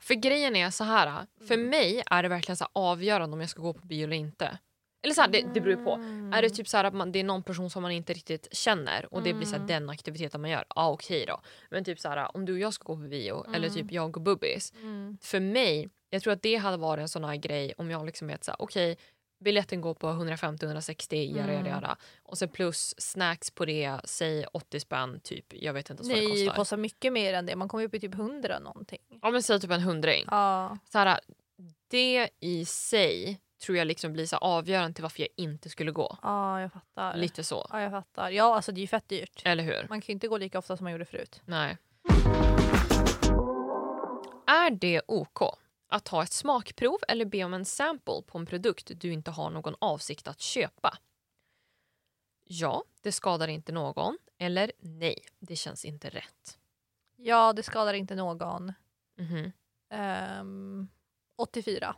S1: för grejen är så här, ah, för
S2: Mm.
S1: mig är det verkligen så här avgörande om jag ska gå på bio eller inte. Eller så här, det, det beror ju på.
S2: Mm.
S1: Är det typ så här att man, det är någon person som man inte riktigt känner och det blir så här
S2: Mm.
S1: den aktiviteten man gör, ja ah, okej då. Men typ så här, om du och jag ska gå på bio eller
S2: Mm.
S1: typ jag och Bubbis,
S2: Mm.
S1: för mig, jag tror att det hade varit en sån här grej om jag liksom vet såhär, okej biljetten går på 150-160, jada
S2: Mm.
S1: jada jada. Och sen plus snacks på det, säg 80 spänn typ, jag vet inte ens vad
S2: Nej,
S1: det
S2: det
S1: kostar.
S2: kostar mycket mer än det. Man kommer upp i typ 100 någonting.
S1: Ja men säg typ en hundring.
S2: Ja.
S1: Så här, det i sig tror jag liksom blir så här avgörande till varför jag inte skulle gå.
S2: Ja, jag fattar.
S1: Lite så,
S2: Ja, jag fattar. Ja, alltså det är ju fett dyrt.
S1: eller hur?
S2: Man kan ju inte gå lika ofta som man gjorde förut.
S1: Nej. Är det OK att ta ett smakprov eller be om en sample på en produkt du inte har någon avsikt att köpa? Ja, det skadar inte någon. Eller nej, det känns inte rätt.
S2: Ja, det skadar inte någon.
S1: Mhm.
S2: Ehm, 84.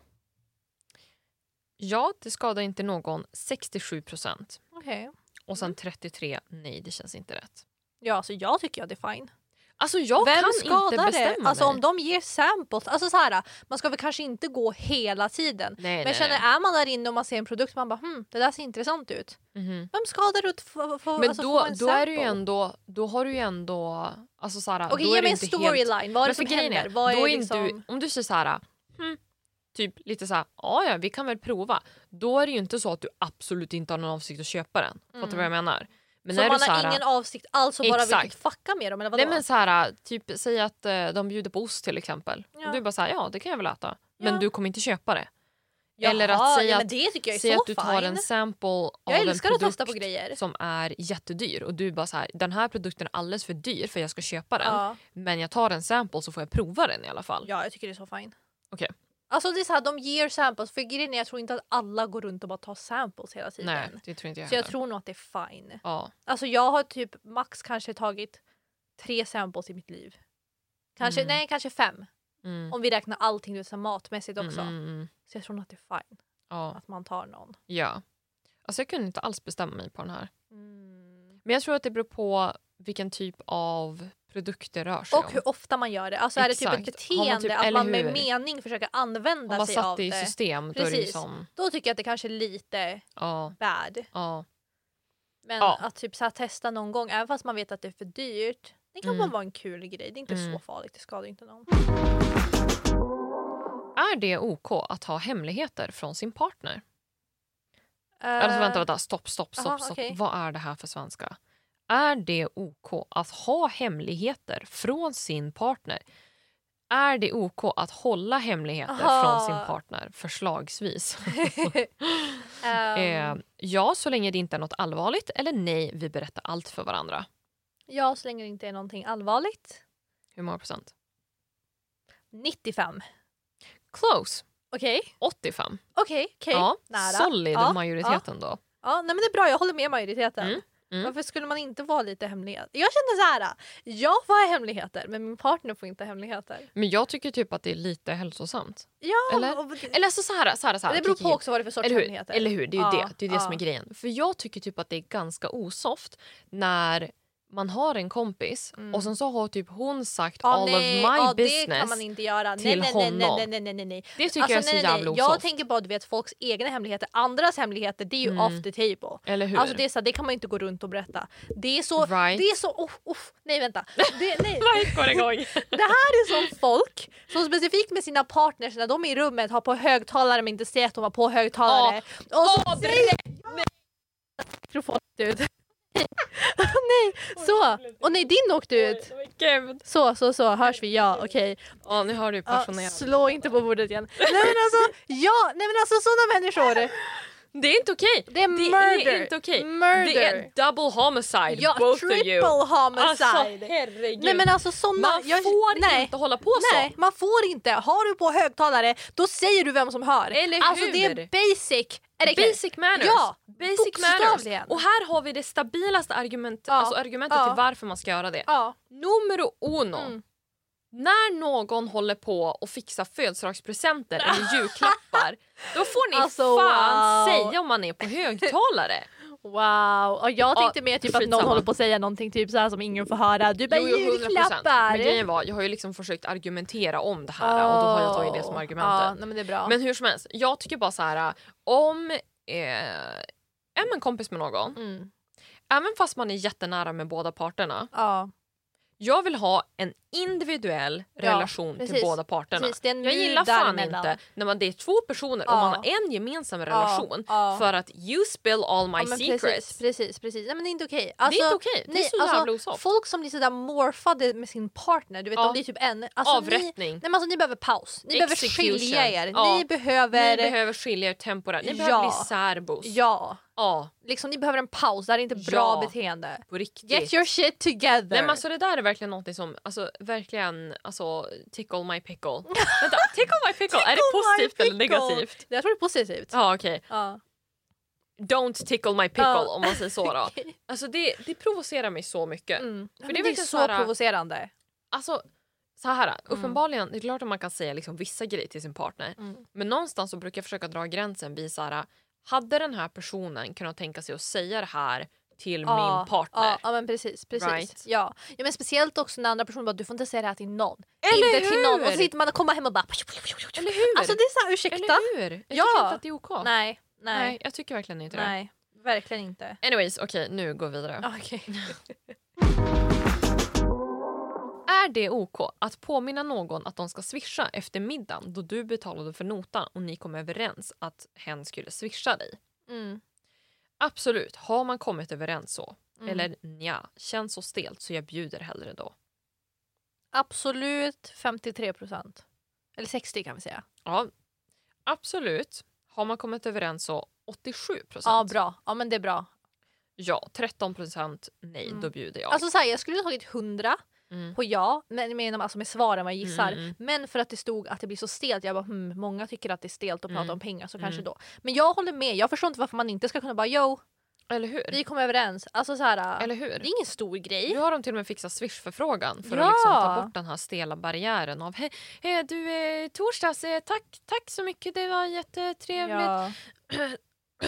S1: Ja, det skadar inte någon. 67 procent.
S2: Okej.
S1: Och
S2: Mm.
S1: sen 33, nej, det känns inte rätt.
S2: Ja, alltså jag tycker att det är fine.
S1: Alltså jag
S2: Vem
S1: kan inte
S2: skadar det?
S1: bestämma
S2: Alltså
S1: mig.
S2: om de ger samples, alltså så här, man ska väl kanske inte gå hela tiden.
S1: Nej,
S2: Men jag
S1: nej,
S2: känner,
S1: nej.
S2: är man där inne och man ser en produkt man bara hm, det där ser intressant ut.
S1: Mhm.
S2: Vem skadar det att få, få,
S1: Men
S2: alltså,
S1: då,
S2: få en
S1: då är du ju
S2: sample?
S1: ändå... Då har du ju ändå... Alltså Sara,
S2: Okej,
S1: då
S2: ge
S1: är du
S2: mig en
S1: inte
S2: storyline. Vad är det
S1: Men för
S2: som
S1: grejen
S2: händer?
S1: är,
S2: Vad
S1: då
S2: är
S1: är inte
S2: liksom...
S1: du, om du säger så här, hm, typ lite så här, ja ja, vi kan väl prova. Då är det ju inte så att du absolut inte har någon avsikt att köpa den. Fattar du vad jag menar? Men
S2: så
S1: är
S2: Mm. man
S1: du så
S2: har
S1: här,
S2: ingen avsikt alls och bara vill
S1: Exakt.
S2: typ fucka med dem eller vadå?
S1: nej men så här, typ säg att eh, de bjuder på ost till exempel.
S2: Ja.
S1: Och du bara så här, ja det kan jag väl äta. Men
S2: Ja.
S1: du kommer inte köpa det.
S2: Jaha,
S1: eller att säga
S2: ja,
S1: att-
S2: men det tycker jag är
S1: Säg
S2: så
S1: att du tar
S2: fine.
S1: en sample av
S2: jag
S1: en
S2: älskar att testa på
S1: produkt
S2: grejer.
S1: som är jättedyr och du bara så här, den här produkten är alldeles för dyr för jag ska köpa den.
S2: Ja.
S1: Men jag tar en sample så får jag prova den i alla fall.
S2: ja, jag tycker det är så fine.
S1: Okej.
S2: Alltså det är så här, de ger samples för grejen är jag tror inte att alla går runt och bara tar samples hela tiden.
S1: Nej, det tror inte jag
S2: Så jag
S1: heller.
S2: tror nog att det är fine.
S1: Ja.
S2: Alltså jag har typ max kanske tagit tre samples i mitt liv. Kanske,
S1: Mm.
S2: Nej, kanske fem.
S1: Mm.
S2: Om vi räknar allting du vet, så här matmässigt
S1: Mm,
S2: också.
S1: mm, mm.
S2: Så jag tror nog att det är fine
S1: Ja.
S2: att man tar någon.
S1: ja. Alltså jag kunde inte alls bestämma mig på den här.
S2: Mm.
S1: Men jag tror att det beror på vilken typ av produkt det rör sig
S2: Och
S1: om.
S2: hur ofta man gör det. Alltså är det typ ett
S1: Exakt. Har man
S2: beteende
S1: typ-
S2: att
S1: eller
S2: man med
S1: hur?
S2: mening försöker
S1: Om
S2: använda
S1: man
S2: sig av
S1: satt det i
S2: det.
S1: system då är det ju
S2: Precis.
S1: som...
S2: Då tycker jag att det kanske är lite
S1: Ja,
S2: bad.
S1: ja,
S2: Men
S1: Ja.
S2: att typ så här testa någon gång, även fast man vet att det är för dyrt. Det kan
S1: Mm.
S2: bara vara en kul grej. Det är inte
S1: Mm.
S2: så farligt. Det skadar inte någon.
S1: Är det OK att ha hemligheter från sin partner? Alltså, vänta, vänta, stopp, stopp, stopp.
S2: Eh, aha,
S1: stopp.
S2: okej.
S1: Vad är det här för svenska? Är det OK att ha hemligheter från sin partner? Är det OK att hålla hemligheter
S2: Aha.
S1: från sin partner? Förslagsvis.
S2: Ehm, *laughs*
S1: *laughs* Eh, ja, så länge det inte är något allvarligt. Eller nej, vi berättar allt för varandra.
S2: ja, så länge det inte är någonting allvarligt.
S1: Hur många procent?
S2: 95.
S1: Close.
S2: Okej,
S1: 85.
S2: okej, okej.
S1: ja,
S2: nära.
S1: solid
S2: Ja,
S1: majoriteten då.
S2: Ja, nej men det är bra, jag håller med majoriteten.
S1: Mm, mm.
S2: Varför skulle man inte vara lite hemlighet? Jag kände så här, jag får ha hemligheter men min partner får inte ha hemligheter.
S1: Men jag tycker typ att det är lite hälsosamt.
S2: Ja,
S1: Eller?
S2: och det,
S1: Eller alltså så här, så här, så här.
S2: det beror på
S1: Kiki.
S2: också vad det är för sorts
S1: Eller hur?
S2: hemligheter.
S1: Eller hur? Det är ju
S2: Ja,
S1: det, det, är det som är
S2: ja.
S1: grejen. För jag tycker typ att det är ganska osoft när man har en kompis
S2: Mm.
S1: och sen så har typ hon sagt
S2: Ja,
S1: all
S2: nej,
S1: of my
S2: ja, Det kan
S1: business.
S2: man
S1: Det,
S2: inte göra.
S1: till
S2: nej, nej, nej,
S1: honom.
S2: nej, nej, nej, nej, nej.
S1: tycker jag är
S2: Alltså,
S1: så
S2: nej, nej,
S1: jävla
S2: nej.
S1: osoft.
S2: Jag tänker bara du vet folks egna hemligheter. Andras hemligheter det är ju
S1: Mm.
S2: off the table.
S1: Eller hur?
S2: Alltså det, är så här, det kan man ju inte gå runt och berätta. Det är så...
S1: right?
S2: Det är så... Oh, oh, nej vänta. Det, nej.
S1: Right går *laughs* igång.
S2: det här är som folk som specifikt med sina partners när de är i rummet har på högtalare men inte ser att de har på högtalare. Och så
S1: Ja,
S2: säger mikrofonen ut. *laughs* nej, så. Och nej, din åkte ut.
S1: Gud.
S2: Så, så, så hörs vi. Ja, okej.
S1: Ja, nu hör du
S2: Ja,
S1: passionerat.
S2: slå inte på bordet igen. Nej men alltså, ja, nej men alltså sådana människor.
S1: Det är inte okej.
S2: Det
S1: Det
S2: är murder.
S1: är inte okej.
S2: Murder.
S1: Det är double homicide,
S2: ja,
S1: both of
S2: triple
S1: you. Alltså
S2: homicide.
S1: herregud.
S2: nej men alltså sådana.
S1: man
S2: jag-
S1: får
S2: nej,
S1: inte hålla på så.
S2: Nej, man får inte. Har du på högtalare, då säger du vem som hör.
S1: Eller
S2: alltså det är
S1: hur?
S2: basic etiquette.
S1: Basic manners.
S2: Ja,
S1: Basic
S2: bokstavligen.
S1: manners. Och här har vi det stabilaste argument,
S2: Ja.
S1: alltså argumentet
S2: Ja.
S1: till varför man ska göra det.
S2: Ja,
S1: Numero uno.
S2: Mm.
S1: När någon håller på och fixar födelsedagspresenter eller
S2: *laughs*
S1: julklappar då får ni
S2: Alltså,
S1: fan
S2: wow.
S1: säga om man är på högtalare.
S2: wow. Och jag tänkte mer typ att
S1: skitsamma.
S2: någon håller på att säga någonting typ så här som ingen får höra. Du bara julklappar.
S1: Men grejen var, jag har ju liksom försökt argumentera om det här och då har jag tagit det som argumentet.
S2: Ah, Ja, nej, men det är bra.
S1: Men hur som helst, jag tycker bara så här om eh, är man kompis med någon,
S2: mm.
S1: även fast man är jättenära med båda parterna,
S2: ja,
S1: jag vill ha en individuell
S2: Ja,
S1: relation
S2: precis.
S1: till båda parterna.
S2: precis. Det är en
S1: Jag
S2: mur
S1: gillar fan
S2: däremellan.
S1: inte när man, det är två personer och
S2: Ja.
S1: man har en gemensam relation
S2: ja.
S1: för att you spill all my
S2: Ja, men
S1: secrets.
S2: Precis, precis, precis. Nej, men det är inte okej.
S1: det är inte
S2: Alltså,
S1: okej, det
S2: nej,
S1: är så
S2: alltså,
S1: jävla osoft.
S2: Folk som blir sådär morfade med sin partner, du vet
S1: Ja.
S2: om det är typ en... Alltså, Ni,
S1: Avrättning.
S2: nej, men alltså, ni behöver paus, ni behöver
S1: Execution.
S2: skilja er,
S1: Ja.
S2: ni, behöver,
S1: Ni behöver skilja er temporärt, ni behöver
S2: Ja.
S1: bli särbos.
S2: Ja,
S1: Ja,
S2: liksom, ni behöver en paus, det här är inte bra
S1: Ja.
S2: beteende.
S1: på riktigt.
S2: Get your shit together!
S1: Nej, men alltså, det där är verkligen någonting som, alltså, verkligen, alltså, tickle my pickle.
S2: *laughs*
S1: Vänta, tickle my pickle, är det
S2: Tickle my
S1: positivt eller
S2: pickle.
S1: negativt?
S2: Jag tror det är positivt.
S1: Ja okej,
S2: Ja.
S1: don't tickle my pickle
S2: Ja.
S1: om man säger så
S2: *laughs*
S1: då.
S2: Okej.
S1: Alltså det, det provocerar mig så mycket.
S2: Mm. Ja,
S1: det är
S2: men det är
S1: verkligen
S2: så
S1: såhär-
S2: provocerande.
S1: Alltså så här, uppenbarligen, det är klart att man kan säga liksom vissa grejer till sin partner.
S2: Mm.
S1: Men någonstans så brukar jag försöka dra gränsen vid så här, hade den här personen kunnat tänka sig att säga det här till min partner?
S2: Ja, ja men precis. precis.
S1: Right.
S2: Ja. ja men speciellt också när andra personer bara du får inte säga det här till någon.
S1: Eller
S2: inte till någon.
S1: hur?
S2: Och så sitter man och kommer hem och bara...
S1: Eller hur?
S2: Alltså det är såhär ursäkta.
S1: Eller hur? Jag
S2: Ja.
S1: tycker inte att det är OK.
S2: Nej,
S1: Nej,
S2: nej,
S1: jag tycker verkligen inte
S2: nej, verkligen inte.
S1: det. Anyways, okej nu går vi vidare.
S2: Okej.
S1: Är det OK att påminna någon att de ska swisha efter middagen då du betalade för notan och ni kom överens att hen skulle swisha dig?
S2: *laughs* Mm.
S1: Absolut, har man kommit överens så.
S2: Mm.
S1: Eller nja, känns så stelt så jag bjuder hellre då.
S2: Absolut 53 procent. Eller 60 kan vi säga.
S1: Ja, absolut. Har man kommit överens så 87
S2: Ja,
S1: procent.
S2: bra. Ja, men det är bra.
S1: ja, 13 procent nej,
S2: Mm.
S1: då bjuder jag.
S2: Alltså så här, jag skulle ha tagit 100
S1: Mm.
S2: på ja, men med, alltså med svaren vad jag gissar.
S1: Mm, mm.
S2: Men för att det stod att det blir så stelt, jag bara hmm, många tycker att det är stelt att prata
S1: Mm.
S2: om pengar så
S1: Mm.
S2: kanske då. Men jag håller med, jag förstår inte varför man inte ska kunna bara yo,
S1: Eller hur?
S2: vi kom överens. Alltså så här,
S1: Eller
S2: det
S1: hur?
S2: är ingen stor grej.
S1: Nu har de till och med fixat Swish-förfrågan för
S2: Ja.
S1: att liksom ta bort den här stela barriären av "Hej, eh, du eh, torsdags, eh, tack, tack så mycket, det var jättetrevligt.
S2: Ja,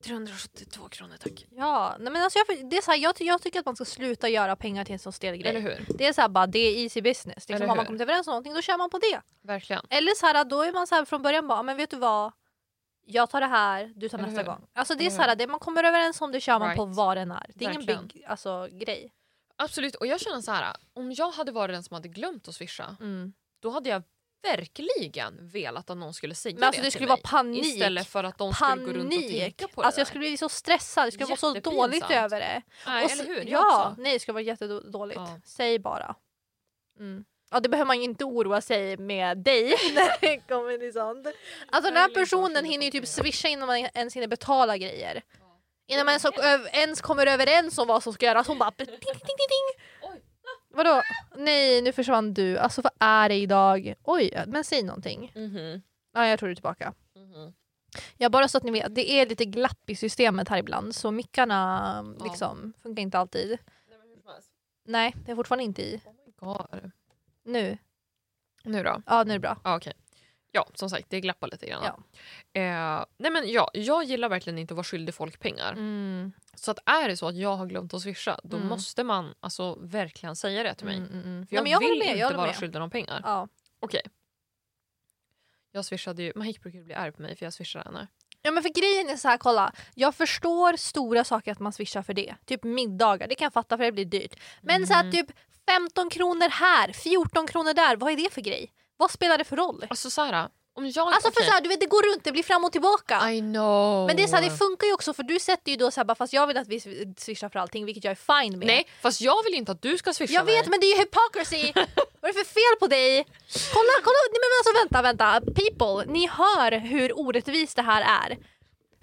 S1: *clears throat* 372 kronor tack.
S2: ja. Nej, men alltså jag, det är så här, jag, ty- jag tycker att man ska sluta göra pengar till en så stel grej.
S1: Eller hur?
S2: Det är så här, bara, det är easy business.
S1: Eller
S2: Liksom, har man
S1: hur?
S2: kommit överens om någonting då kör man på det.
S1: Verkligen.
S2: Eller så här, då är man så här från början bara, "Ah, men vet du vad? Jag tar det här, du tar
S1: Eller
S2: nästa
S1: hur?
S2: gång. Alltså det är
S1: Eller
S2: så här, det man kommer överens om det kör man på
S1: Right.
S2: vad den är. Det är ingen
S1: Verkligen.
S2: big alltså, grej.
S1: Absolut, och jag känner så här, om jag hade varit den som hade glömt att swisha, då hade jag verkligen velat att någon skulle säga
S2: Men alltså
S1: det
S2: det
S1: till
S2: skulle
S1: mig.
S2: vara panik.
S1: Istället för att de skulle gå runt och
S2: Panik!
S1: tänka på det
S2: Alltså jag
S1: där.
S2: skulle bli så stressad, jag skulle vara så dåligt
S1: Jättepinsamt.
S2: över det.
S1: Nej,
S2: Och så-
S1: eller hur? Jag
S2: Ja,
S1: också.
S2: nej det skulle vara jättedåligt.
S1: Ja.
S2: Säg bara. Mm. Ja det behöver man ju inte oroa sig med dig *laughs* när det kommer till sånt. Alltså den här
S1: Eller bara
S2: personen
S1: fylla
S2: hinner ju
S1: på
S2: typ
S1: pengar.
S2: swisha innan man ens hinner betala grejer.
S1: Ja.
S2: Innan man ens, ö- ens kommer överens om vad som ska göras. Hon bara ting, ting, ting, ting.
S1: Oj.
S2: Vadå? Nej nu försvann du. Alltså vad är det idag? Oj, men säg någonting.
S1: Mhm,
S2: Ja jag tror du är tillbaka.
S1: mhm.
S2: Ja, bara så att ni vet, det är lite glapp i systemet här ibland så mickarna
S1: Ja.
S2: liksom, funkar inte alltid.
S1: Nej, men hur som helst.
S2: Nej, det är fortfarande inte i.
S1: Oh my God.
S2: Nu.
S1: Nu då?
S2: Ja, nu är det bra.
S1: Ja, okej. Ja, som sagt, det glappar lite grann.
S2: Ja.
S1: Eh, nej men ja, jag gillar verkligen inte att vara skyldig folk pengar.
S2: Mm.
S1: Så att är det så att jag har glömt att swisha, då
S2: Mm.
S1: måste man alltså verkligen säga det till mig.
S2: Mm, mm, mm.
S1: För jag,
S2: Nej, men jag
S1: vill
S2: håller med.
S1: inte
S2: Jag håller
S1: vara
S2: med.
S1: skyldig någon pengar.
S2: Ja.
S1: Okej. Jag swishade ju, Mahik brukar ju bli arg på mig för jag swishar henne.
S2: ja, men för grejen är så här, kolla. Jag förstår stora saker att man swishar för det. Typ middagar, det kan jag fatta för det blir dyrt. Men så här,
S1: Mm.
S2: typ 15 kronor här, 14 kronor där, vad är det för grej? Vad spelar det för roll?
S1: Alltså Sara, om jag...
S2: Alltså för
S1: okej.
S2: så här, du vet, det går runt, det blir fram och tillbaka.
S1: I know.
S2: Men det, är så här, det funkar ju också för du sätter ju då så här, bara, fast jag vill att vi swishar för allting vilket jag är fine med.
S1: Nej, fast jag vill inte att du ska swisha
S2: jag vet
S1: mig.
S2: men det är
S1: *laughs*
S2: ju hypocrisy! Vad är det för fel på dig? Kolla, kolla! Nej, men alltså vänta, vänta. People, ni hör hur orättvist det här är.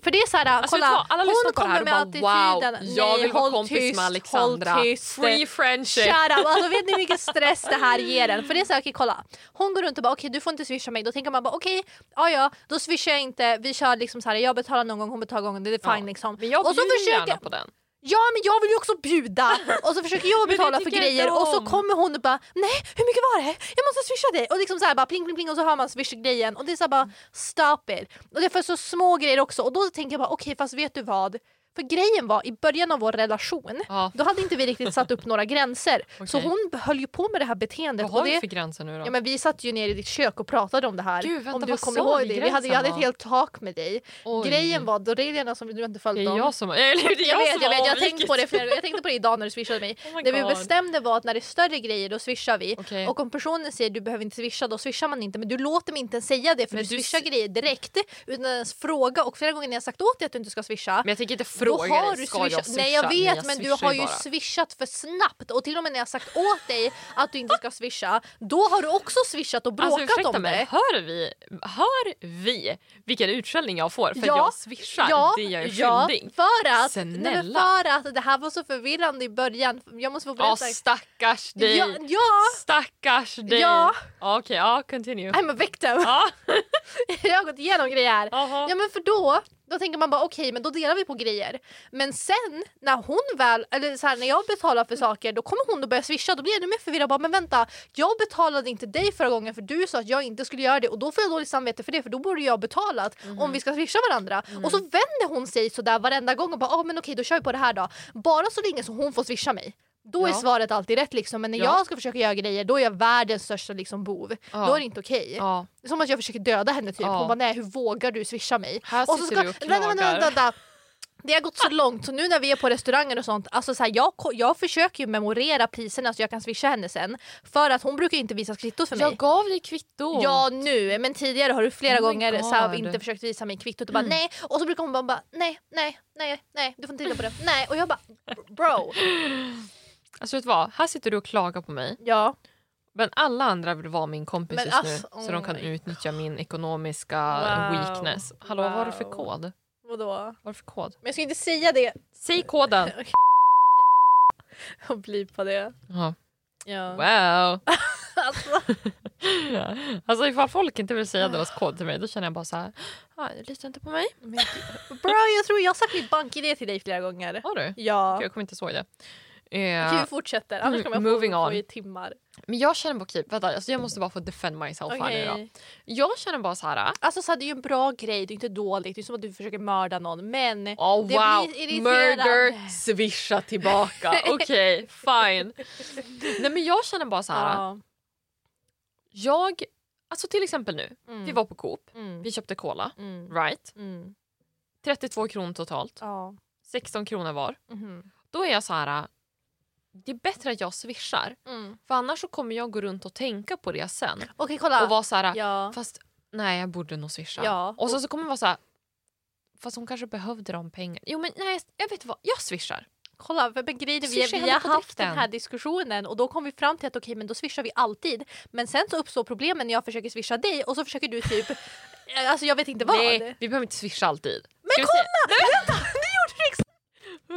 S2: För det är så här,
S1: Alltså,
S2: kolla,
S1: vet du vad? alla lyssnar
S2: hon
S1: på det
S2: kommer
S1: här
S2: med
S1: och bara wow,
S2: attityden.
S1: jag
S2: Nej,
S1: vill vara
S2: håll
S1: kompis
S2: tyst,
S1: med Alexandra.
S2: Håll tyst. eh,
S1: Free friendship.
S2: Shut up. Alltså, vet ni hur
S1: *laughs*
S2: mycket stress det här ger en? För det är så här, okej kolla. Hon går runt och bara okej du får inte swisha mig. Då tänker man bara okej, ja ja då swishar jag inte. Vi kör liksom så här, jag betalar någon gång, hon betalar någon gång. Det är
S1: Ja.
S2: fine liksom.
S1: Men jag
S2: Och så
S1: bjuder
S2: försöker-
S1: gärna på den.
S2: Ja men jag vill ju också bjuda! Och så försöker jag
S1: det
S2: betala för
S1: tycker jag inte
S2: grejer och så
S1: om.
S2: kommer hon och bara nej hur mycket var det? Jag måste swisha dig! Och liksom så här bara pling pling pling och så hör man swish-grejen och det är så här bara stop it! Och det är för så små grejer också och då tänker jag bara okej fast vet du vad? För grejen var i början av vår relation
S1: Ja.
S2: då hade inte vi riktigt satt
S1: *laughs*
S2: upp några gränser. Så
S1: Okej.
S2: hon höll ju på med det här beteendet.
S1: Vad har
S2: och det,
S1: vi för gränser nu då?
S2: ja, men vi satt ju ner i ditt kök och pratade om det här.
S1: Gud, vänta,
S2: om du
S1: vad
S2: kommer
S1: sa
S2: ihåg
S1: vi
S2: det. Vi hade, jag
S1: gränsen
S2: hade ett
S1: var?
S2: helt tak med dig.
S1: Oj.
S2: Grejen var, då reglerna som du inte
S1: Det
S2: följt
S1: är
S2: dem.
S1: jag som... Eller det är
S2: Jag vet,
S1: som
S2: jag, vet,
S1: har
S2: jag, tänkte
S1: avvikit.
S2: på det flera, jag tänkte på det idag när du swishade mig.
S1: *laughs* Oh my
S2: det vi
S1: God.
S2: bestämde var att när det är större grejer då swishar vi.
S1: Okej.
S2: Och om personen säger du behöver inte swisha då swishar man inte. Men du låter mig inte ens säga det för
S1: Men
S2: du
S1: du
S2: swishar
S1: s-
S2: grejer direkt utan ens fråga. Och flera gånger när jag sagt åt dig att du inte ska swisha
S1: Men jag tänker inte
S2: då
S1: fråga
S2: har
S1: dig,
S2: du
S1: ska jag
S2: swishat.
S1: swisha?
S2: Nej jag vet men du
S1: swishar
S2: har ju
S1: bara.
S2: swishat för snabbt och till och med när jag sagt åt dig att du inte ska swisha då har du också swishat och
S1: Alltså
S2: bråkat
S1: ursäkta
S2: om
S1: mig,
S2: det.
S1: hör vi, hör vi vilken utskällning jag får för
S2: Ja,
S1: att jag swishar
S2: Ja,
S1: det jag är
S2: ja,
S1: skyldig?
S2: för att, nej, men
S1: Snälla.
S2: för att det här var så förvirrande i början. Jag måste få
S1: Ja,
S2: berätta.
S1: stackars dig!
S2: ja, ja.
S1: Stackars dig!
S2: Ja.
S1: Okej, ja continue.
S2: I'm a victim.
S1: Ja,
S2: *laughs* jag har gått igenom grejer här.
S1: aha.
S2: Ja men för då, då tänker man bara okej men då delar vi på grejer. Men sen när hon väl, eller så här, när jag betalar för saker då kommer hon att börja swisha då blir jag ännu mer förvirrad. Bara, men vänta, jag betalade inte dig förra gången för du sa att jag inte skulle göra det och då får jag dåligt samvete för det för då borde jag ha betalat
S1: Mhm.
S2: om vi ska swisha varandra.
S1: Mm.
S2: Och så vänder hon sig sådär varenda gång och bara ah, men okej då kör vi på det här då. Bara så länge som hon får swisha mig. Då är
S1: Ja.
S2: svaret alltid rätt liksom men när
S1: Ja.
S2: jag ska försöka göra grejer då är jag världens största liksom bov.
S1: Ja.
S2: Då är det inte okej.
S1: Ja.
S2: Som att jag försöker döda henne typ.
S1: Ja.
S2: Hon bara nej hur vågar du swisha mig?
S1: Här
S2: Och så
S1: sitter
S2: ska,
S1: du och
S2: vänta, vänta,
S1: klagar.
S2: vänta, vänta. Det har gått så långt så nu när vi är på restauranger och sånt, alltså så här, jag, ko- jag försöker ju memorera priserna så jag kan swisha henne sen. För att hon brukar ju inte visa kvittot för mig.
S1: Jag gav dig kvitto.
S2: Ja nu, men tidigare har du flera
S1: Oh my
S2: gånger så här,
S1: God. Mm.
S2: inte försökt visa mig kvittot och bara nej. Och så brukar hon bara, bara nej, nej, nej, nej, du får inte titta på det. Nej. Och jag bara bro.
S1: Alltså vet du vad, här sitter du och klagar på mig.
S2: Ja.
S1: Men alla andra vill vara min kompis
S2: Men
S1: just
S2: alltså,
S1: nu så de
S2: oh
S1: kan
S2: my
S1: utnyttja min ekonomiska
S2: Wow.
S1: weakness. Hallå, vad har du för
S2: Wow.
S1: kod? Vad
S2: Vadå?
S1: har du för kod?
S2: Men jag ska inte säga det.
S1: Säg
S2: *laughs*
S1: koden!
S2: Och bli på det.
S1: Ja.
S2: Ja.
S1: Wow!
S2: Alltså,
S1: Alltså ifall folk inte vill säga deras kod till mig då känner jag bara så här. Ah, du litar inte på mig.
S2: bro, jag tror jag har sagt mitt bankidé till dig flera gånger.
S1: Har du?
S2: Ja.
S1: Jag kommer inte ihåg det.
S2: Okej,
S1: Eh,
S2: vi fortsätter. Annars kommer jag
S1: Mm, moving
S2: få
S1: on.
S2: på i timmar.
S1: men jag känner bara, okej, vänta, alltså jag måste bara få defend myself här nu då.
S2: Okej.
S1: Jag känner bara så här. "Ah,
S2: Alltså så här, det är ju en bra grej, det är inte dåligt. Det är som att du försöker mörda någon. Men
S1: Oh,
S2: Det
S1: wow!
S2: blir irriterande.
S1: Murder, swisha tillbaka.
S2: *laughs*
S1: Okej, fine. Nej men jag känner bara så här.
S2: Ja.
S1: Jag, alltså till exempel nu.
S2: Mm.
S1: Vi var på Coop,
S2: Mm.
S1: vi köpte cola.
S2: Mm.
S1: Right?
S2: Mm.
S1: 32 kronor totalt.
S2: Ja.
S1: 16 kronor var.
S2: Mhm.
S1: Då är jag så här. äh, Det är bättre att jag swishar.
S2: Mm.
S1: För annars så kommer jag gå runt och tänka på det sen.
S2: Okej, kolla.
S1: Och vara så här. äh,
S2: ja.
S1: Fast nej, jag borde nog swisha.
S2: Ja.
S1: Och sen så kommer det vara så här. Fast hon kanske behövde de pengarna. Jo men nej, jag vet vad. Jag swishar.
S2: Kolla, för- men grejen är, vi,
S1: Swisha
S2: vi
S1: henne
S2: har
S1: på
S2: haft
S1: direkten.
S2: den här diskussionen och då kom vi fram till att okej, men då swishar vi alltid. Men sen så uppstår problemen när jag försöker swisha dig och så försöker du typ, *laughs* eh, alltså jag vet inte vad.
S1: Nej, vi behöver inte swisha alltid. Men
S2: *laughs*
S1: kolla! Vänta! Nu gjorde du exakt...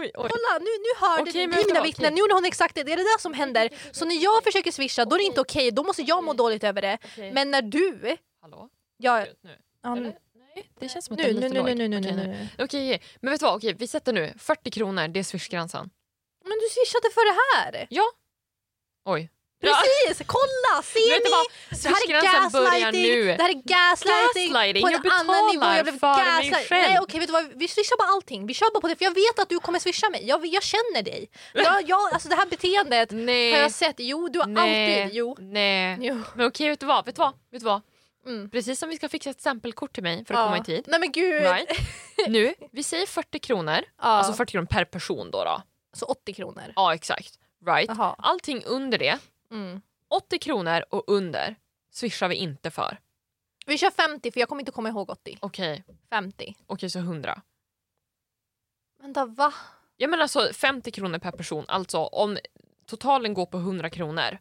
S1: Oj, oj.
S2: Kolla, nu, nu hörde
S1: Okej,
S2: du
S1: men Mm. vet du
S2: mina
S1: vad?
S2: vittnen, nu gjorde hon exakt det. Det är det där som händer. Så när jag försöker swisha då är det
S1: Mm.
S2: inte okej, då måste jag må dåligt över det.
S1: Men...
S2: Men Äh, när du...
S1: Hallå?
S2: Ja,
S1: Gud, Nu.
S2: ja, nu,
S1: Eller? Nej, det känns som att
S2: nu,
S1: den är
S2: nu,
S1: lite
S2: nu,
S1: låg.
S2: nu, nu, nu,
S1: Okej,
S2: nu,
S1: nu. Okej,
S2: nu.
S1: okej. men vet du vad? Okej, vi sätter nu 40 kronor, det är swishgränsen.
S2: Men du swishade för det här!
S1: Oj.
S2: Precis! Kolla! Ser
S1: Vet du vad?
S2: ni? Det här är
S1: Swishgränsen börjar nu.
S2: gaslighting! Det här är gaslighting!
S1: Gaslighting,
S2: På en
S1: jag
S2: annan nivå,
S1: betalar
S2: jag blev
S1: för mig
S2: gaslight-
S1: själv.
S2: Nej okej, vet du vad? Vi swishar bara allting. Vi kör bara på det för jag vet att du kommer swisha mig. Jag, jag känner dig. Jag, jag, alltså det här beteendet
S1: Nej.
S2: har jag sett. Jo, du har
S1: Nej.
S2: alltid... Jo.
S1: Nej.
S2: jo.
S1: Men okej, vet du vad? Vet du vad? Vet du vad?
S2: Mm.
S1: Precis som vi ska fixa ett stämpelkort till mig för att
S2: Ja.
S1: komma i tid.
S2: Nej men
S1: *laughs*
S2: gud.
S1: Right? Nu, vi säger 40 kronor.
S2: Ja.
S1: Alltså 40 kronor per person då. då.
S2: Så 80 kronor.
S1: Ja, exakt. Right?
S2: Jaha.
S1: Allting under det,
S2: Mm.
S1: 80 kronor och under, swishar vi inte för.
S2: Vi kör 50 för jag kommer inte komma ihåg 80.
S1: Okej,
S2: 50.
S1: okej så 100.
S2: Vänta va?
S1: Jag menar alltså 50 kronor per person, alltså om totalen går på 100 kronor,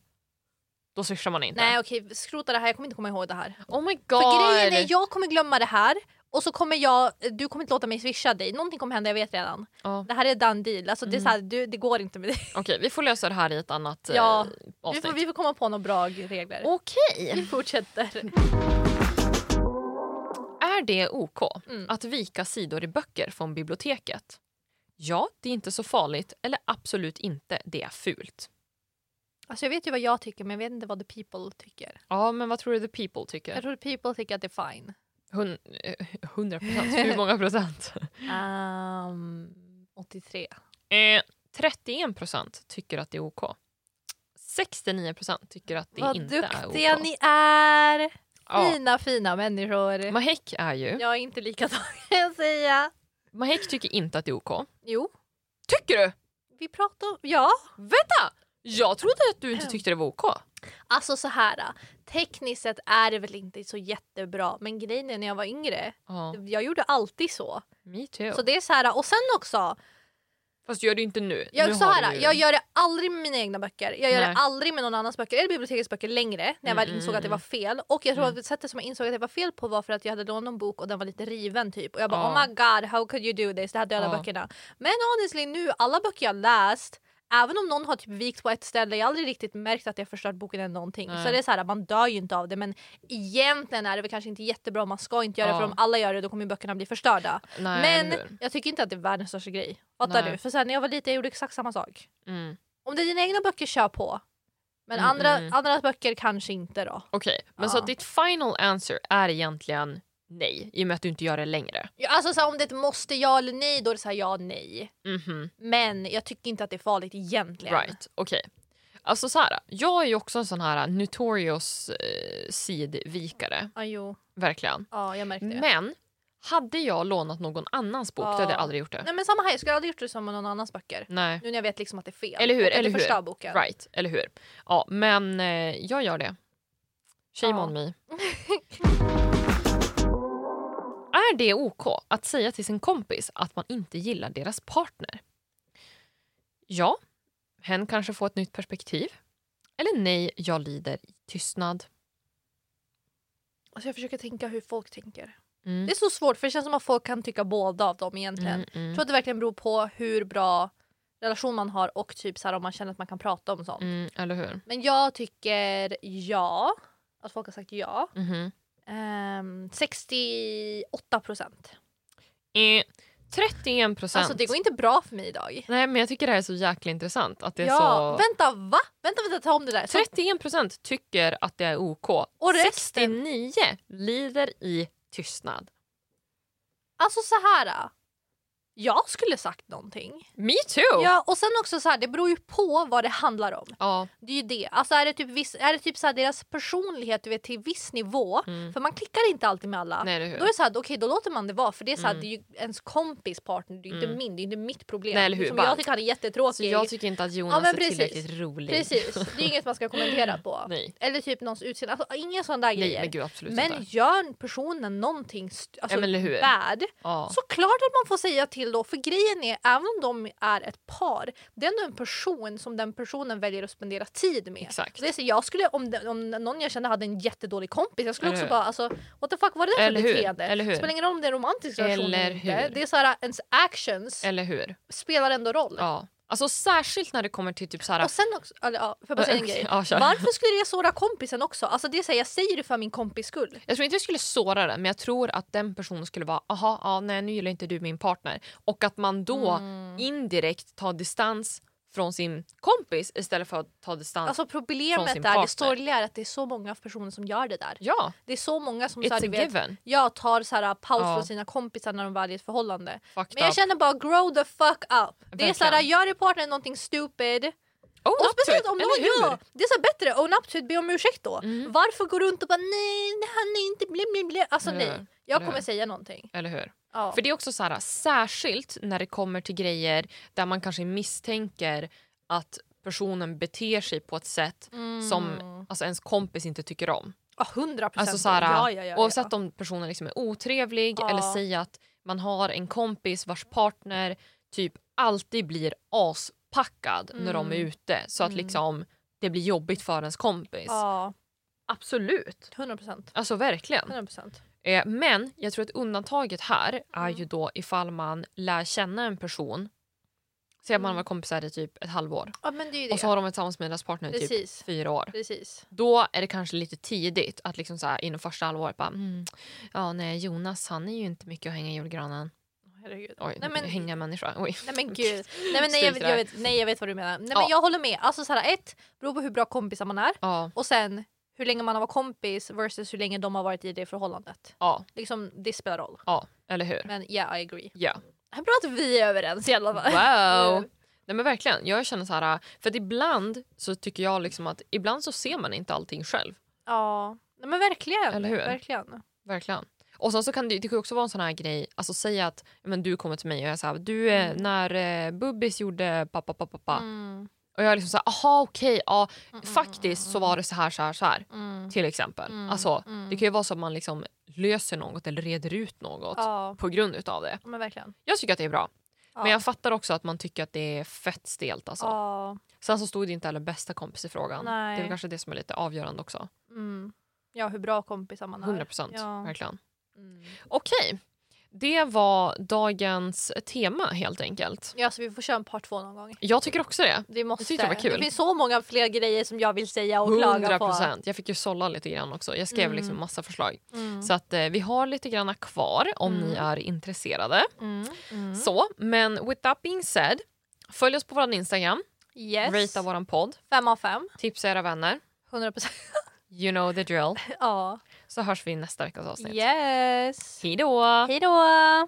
S1: då swishar man inte.
S2: Nej okej, skrota det här. Jag kommer inte komma ihåg det här.
S1: Oh my god!
S2: För grejen är jag kommer glömma det här och så kommer jag, du kommer inte låta mig swisha dig. Någonting kommer hända, jag vet redan.
S1: Ja.
S2: Det här är done deal. Alltså, det, är
S1: Mm.
S2: så här, du, det går inte med dig.
S1: Okej, vi får lösa det här i ett annat eh,
S2: Ja, Vi
S1: avsnitt.
S2: får, vi får komma på några bra regler.
S1: Okej,
S2: Vi fortsätter.
S1: är det OK
S2: Mm.
S1: att vika sidor i böcker från biblioteket? Ja, det är inte så farligt, eller absolut inte, det är fult.
S2: Alltså, jag vet ju vad jag tycker men jag vet inte vad the people tycker.
S1: Ja, men vad tror du the people
S2: Jag
S1: tycker?
S2: tror the people tycker att det är fine.
S1: Hun- eh, 100 procent, hur många procent?
S2: Mm. Ehm, 83.
S1: Eh, 31 procent tycker att det är OK. 69 procent tycker att det
S2: vad
S1: inte är OK.
S2: duktiga ni är!
S1: Ja.
S2: Fina fina människor.
S1: Mahek är ju...
S2: Jag är inte *laughs* likadan kan jag säga.
S1: Mahek tycker inte att det är OK.
S2: Jo,
S1: Tycker du?
S2: vi pratar om... Ja.
S1: Vänta! Jag trodde att du inte tyckte det var OK.
S2: Alltså så här. Tekniskt sett är det väl inte så jättebra men grejen är när jag var yngre,
S1: Ja,
S2: jag gjorde alltid så.
S1: me too.
S2: Så det är så här, och sen också,
S1: Fast gör du inte nu.
S2: jag,
S1: nu
S2: så
S1: har
S2: här,
S1: du ju
S2: jag
S1: den.
S2: gör det aldrig med mina egna böcker. Jag gör
S1: Nej.
S2: det aldrig med någon annans böcker eller bibliotekets böcker längre när jag väl
S1: Mm,
S2: insåg
S1: mm,
S2: att det var fel. Och jag tror
S1: Mm.
S2: att sättet som jag insåg att det var fel på var för att jag hade lånat någon bok och den var lite riven typ. Och jag bara
S1: Ja.
S2: oh my god how could you do this? Det här döda
S1: Ja.
S2: böckerna. Men honestly nu, alla böcker jag läst Även om någon har typ vikt på ett ställe, jag har aldrig riktigt märkt att jag förstört boken eller någonting.
S1: Nej.
S2: Så det är så här, man dör ju inte av det men egentligen är det väl kanske inte jättebra, man ska inte göra det
S1: Ja.
S2: för om alla gör det då kommer ju böckerna bli förstörda.
S1: Nej, eller hur?
S2: Men jag tycker inte att det är världens största grej. Fattar
S1: Nej.
S2: du? För sen när jag var liten jag gjorde exakt samma sak.
S1: Mm.
S2: Om det är dina egna böcker, kör på. Men
S1: Mm,
S2: andra,
S1: mm.
S2: andra böcker kanske inte då.
S1: Okej, men
S2: Ja.
S1: så ditt final answer är egentligen nej i och med att du inte gör det längre.
S2: Ja, Alltså så här, om det är ett måste ja eller nej, då är det så här, ja nej.
S1: Mhm,
S2: Men jag tycker inte att det är farligt egentligen.
S1: Right, okej. Alltså så här, jag är ju också en sån här notorious eh, sidvikare,
S2: Ja, jo.
S1: verkligen.
S2: Ja, jag märkte det.
S1: Men Hade jag lånat någon annans bok, då hade jag
S2: Ja.
S1: aldrig gjort det.
S2: Nej men samma här, jag skulle aldrig gjort det som med någon annans böcker.
S1: Nej.
S2: Nu när jag vet liksom att det är fel.
S1: Eller hur,
S2: Och att
S1: eller
S2: det
S1: hur.
S2: förstör boken.
S1: Right, eller hur? Ja, men eh, jag gör det. Shame
S2: Ja.
S1: on
S2: *laughs*
S1: me. är det OK att säga till sin kompis att man inte gillar deras partner? Ja, hen kanske får ett nytt perspektiv. Eller nej, jag lider i tystnad.
S2: Alltså jag försöker tänka hur folk tänker.
S1: Mm,
S2: Det är så svårt för det känns som att folk kan tycka båda av dem egentligen.
S1: mm,
S2: Jag
S1: mm,
S2: tror att det verkligen beror på hur bra relation man har och typ så här, om man känner att man kan prata om sånt.
S1: mm, eller hur?
S2: Men jag tycker ja. Att folk har sagt ja.
S1: Mhm.
S2: Ehm, 68 procent.
S1: Eh, 31 procent.
S2: Alltså det går inte bra för mig idag.
S1: Nej, men jag tycker det här är så jäkla intressant. Att det är
S2: Ja,
S1: så...
S2: vänta va? Vänta, vänta, ta om det där. Så,
S1: 31 procent tycker att det är OK.
S2: Och resten?
S1: 69 lider i tystnad.
S2: alltså så här. äh. Jag skulle sagt någonting.
S1: Me too!
S2: Ja, och sen också så här, det beror ju på vad det handlar om.
S1: Ja,
S2: Det är ju det. Alltså är det typ, viss, är det typ så här, deras personlighet du vet, till viss nivå.
S1: Mm.
S2: För man klickar inte alltid med alla.
S1: nej, eller hur?
S2: Då är det så här, okej då låter man det vara för det är så här,
S1: Mm.
S2: det är ju ens kompis partner, det är ju inte
S1: Mm.
S2: min, det är ju inte mitt problem.
S1: Nej, eller hur?
S2: Som
S1: Bara-
S2: jag tycker han är
S1: Så
S2: jättetråkig.
S1: Alltså, jag tycker inte att
S2: Ja,
S1: Jonas
S2: men
S1: är
S2: precis.
S1: tillräckligt rolig.
S2: Precis, det är ju inget man ska kommentera på.
S1: *laughs* Nej.
S2: Eller typ någons utseende, alltså, inga sådana där
S1: Nej,
S2: grejer.
S1: men gud absolut
S2: Men alltså,
S1: inte.
S2: gör personen någonting st- alltså,
S1: Ja, men eller hur?
S2: bad,
S1: Ja.
S2: såklart att man får säga till då. För grejen är, även om de är ett par, det är ändå en person som den personen väljer att spendera tid med.
S1: Exakt.
S2: Så det är så, jag skulle, om, det- om någon jag kände hade en jättedålig kompis, jag skulle
S1: Eller
S2: också
S1: hur?
S2: bara alltså, what the fuck var det där
S1: Eller
S2: för
S1: hur?
S2: beteende?
S1: Eller hur?
S2: Spelar ingen roll om det är en romantisk relation
S1: Eller
S2: eller inte.
S1: hur?
S2: Det är så här, ens actions
S1: Eller hur?
S2: spelar ändå roll.
S1: Ja. Alltså särskilt när det kommer till typ så här...
S2: Och sen också, eller, ja, får jag bara säga en grej?
S1: Ja, kör.
S2: Varför
S1: *laughs*
S2: skulle jag såra kompisen också? Alltså det säger jag säger det för min kompis skull.
S1: Jag tror inte jag skulle såra den, men jag tror att den personen skulle vara aha, ja, nej, nu gillar inte du min partner. Och att man då
S2: Mm.
S1: indirekt tar distans från sin kompis istället för att ta distans.
S2: Alltså
S1: Från sin
S2: problemet är,
S1: partner.
S2: det sorgliga är att det är så många personer som gör det där.
S1: ja,
S2: Det är så många som så här,
S1: it's a
S2: du vet,
S1: given.
S2: jag tar så här, paus
S1: Ja.
S2: från sina kompisar när de väl är i ett förhållande.
S1: Fucked
S2: Men jag
S1: up.
S2: känner bara grow the fuck up. Det är så här,
S1: Verkligen.
S2: gör din partner någonting stupid.
S1: Own
S2: Och
S1: up to
S2: speciellt
S1: it,
S2: om de
S1: Oh, eller hur?
S2: ja, Det är så här bättre, own up to it, be om ursäkt då.
S1: Mm.
S2: Varför går du runt och bara nej, nej, han är inte bli, bli, bli. Alltså
S1: Eller
S2: nej,
S1: hur?
S2: jag
S1: Eller
S2: kommer
S1: hur?
S2: säga någonting.
S1: Eller hur?
S2: Ja.
S1: För det är också så här, särskilt när det kommer till grejer där man kanske misstänker att personen beter sig på ett sätt som alltså, ens kompis inte tycker om.
S2: Mm. Ja, 100 procent.
S1: Alltså så här,
S2: ja, ja, ja,
S1: Oavsett
S2: ja.
S1: om personen liksom är otrevlig
S2: Ja.
S1: eller säger att man har en kompis vars partner typ alltid blir aspackad när de är
S2: Mm.
S1: ute så att
S2: Mm.
S1: liksom det blir jobbigt för ens kompis.
S2: Ja,
S1: Absolut.
S2: 100 procent.
S1: Alltså verkligen.
S2: 100 procent.
S1: Eh, men jag tror att undantaget här är
S2: Mm.
S1: ju då ifall man lär känna en person. Säg att man
S2: Mm.
S1: var kompisar i typ ett halvår
S2: Ja, men det är ju det.
S1: och så har de varit tillsammans med deras partner i typ
S2: Precis.
S1: fyra år.
S2: Precis.
S1: Då är det kanske lite tidigt att liksom så här, inom första halvåret bara mm, ja nej Jonas han är ju inte mycket att hänga i julgranen.
S2: Herregud.
S1: Oj,
S2: Nej, men-
S1: hänga människa. Oj.
S2: Nej men gud. Nej, men nej, jag, vet, jag, vet, nej jag vet vad du menar. Nej,
S1: Ja.
S2: men jag håller med. Alltså så här, ett, beror på hur bra kompisar man är
S1: Ja,
S2: och sen hur länge man har varit kompis versus hur länge de har varit i det förhållandet.
S1: ja,
S2: Liksom, det spelar roll.
S1: ja, eller
S2: *laughs*
S1: hur?
S2: Men yeah I agree.
S1: Ja.
S2: Det är bra att vi är överens i alla fall.
S1: Wow! Nej men verkligen, jag känner så här äh, för att ibland så tycker jag liksom att ibland så ser man inte allting själv.
S2: Ja. Nej, men verkligen.
S1: Eller hur?
S2: Verkligen.
S1: Verkligen. Och sen så kan det, det kan ju också vara en sån här grej, alltså säga att men du kommer till mig och jag säger du eh,
S2: Mm.
S1: när eh, Bubbis gjorde pappa pappa pappa
S2: Mm,
S1: och jag är liksom så här aha okej ja
S2: mm,
S1: faktiskt så var det så här så här så här
S2: mm,
S1: till exempel.
S2: mm,
S1: Alltså
S2: mm.
S1: det kan ju vara så att man liksom löser något eller reder ut något
S2: Ja,
S1: på grund utav det.
S2: men verkligen.
S1: Jag tycker att det är bra.
S2: Ja.
S1: Men jag fattar också att man tycker att det är fett stelt alltså.
S2: Ja.
S1: Sen så stod det inte heller bästa kompis i frågan.
S2: Nej.
S1: Det är väl kanske det som är lite avgörande också.
S2: Mm. Ja, hur bra kompisar man är.
S1: 100 procent,
S2: Ja.
S1: verkligen.
S2: Mm.
S1: Okej. Det var dagens tema helt enkelt.
S2: Ja, så vi får köra en part två någon gång.
S1: Jag tycker också det.
S2: Vi måste.
S1: tyckte det var kul.
S2: finns så många fler grejer som jag vill säga och klaga
S1: 100
S2: på.
S1: procent. Jag fick ju sålla lite grann också. Jag skrev
S2: Mm.
S1: liksom massa förslag.
S2: Mm.
S1: Så att eh, vi har lite granna kvar om
S2: Mm.
S1: ni är intresserade.
S2: Mm. Mm.
S1: Så, men with that being said. Följ oss på vår Instagram,
S2: Yes.
S1: ratea vår podd,
S2: Fem av fem.
S1: tipsa era vänner.
S2: 100 procent.
S1: You know the drill.
S2: ja.
S1: Så hörs vi i nästa veckas avsnitt.
S2: Yes.
S1: Hej då!
S2: Hej då!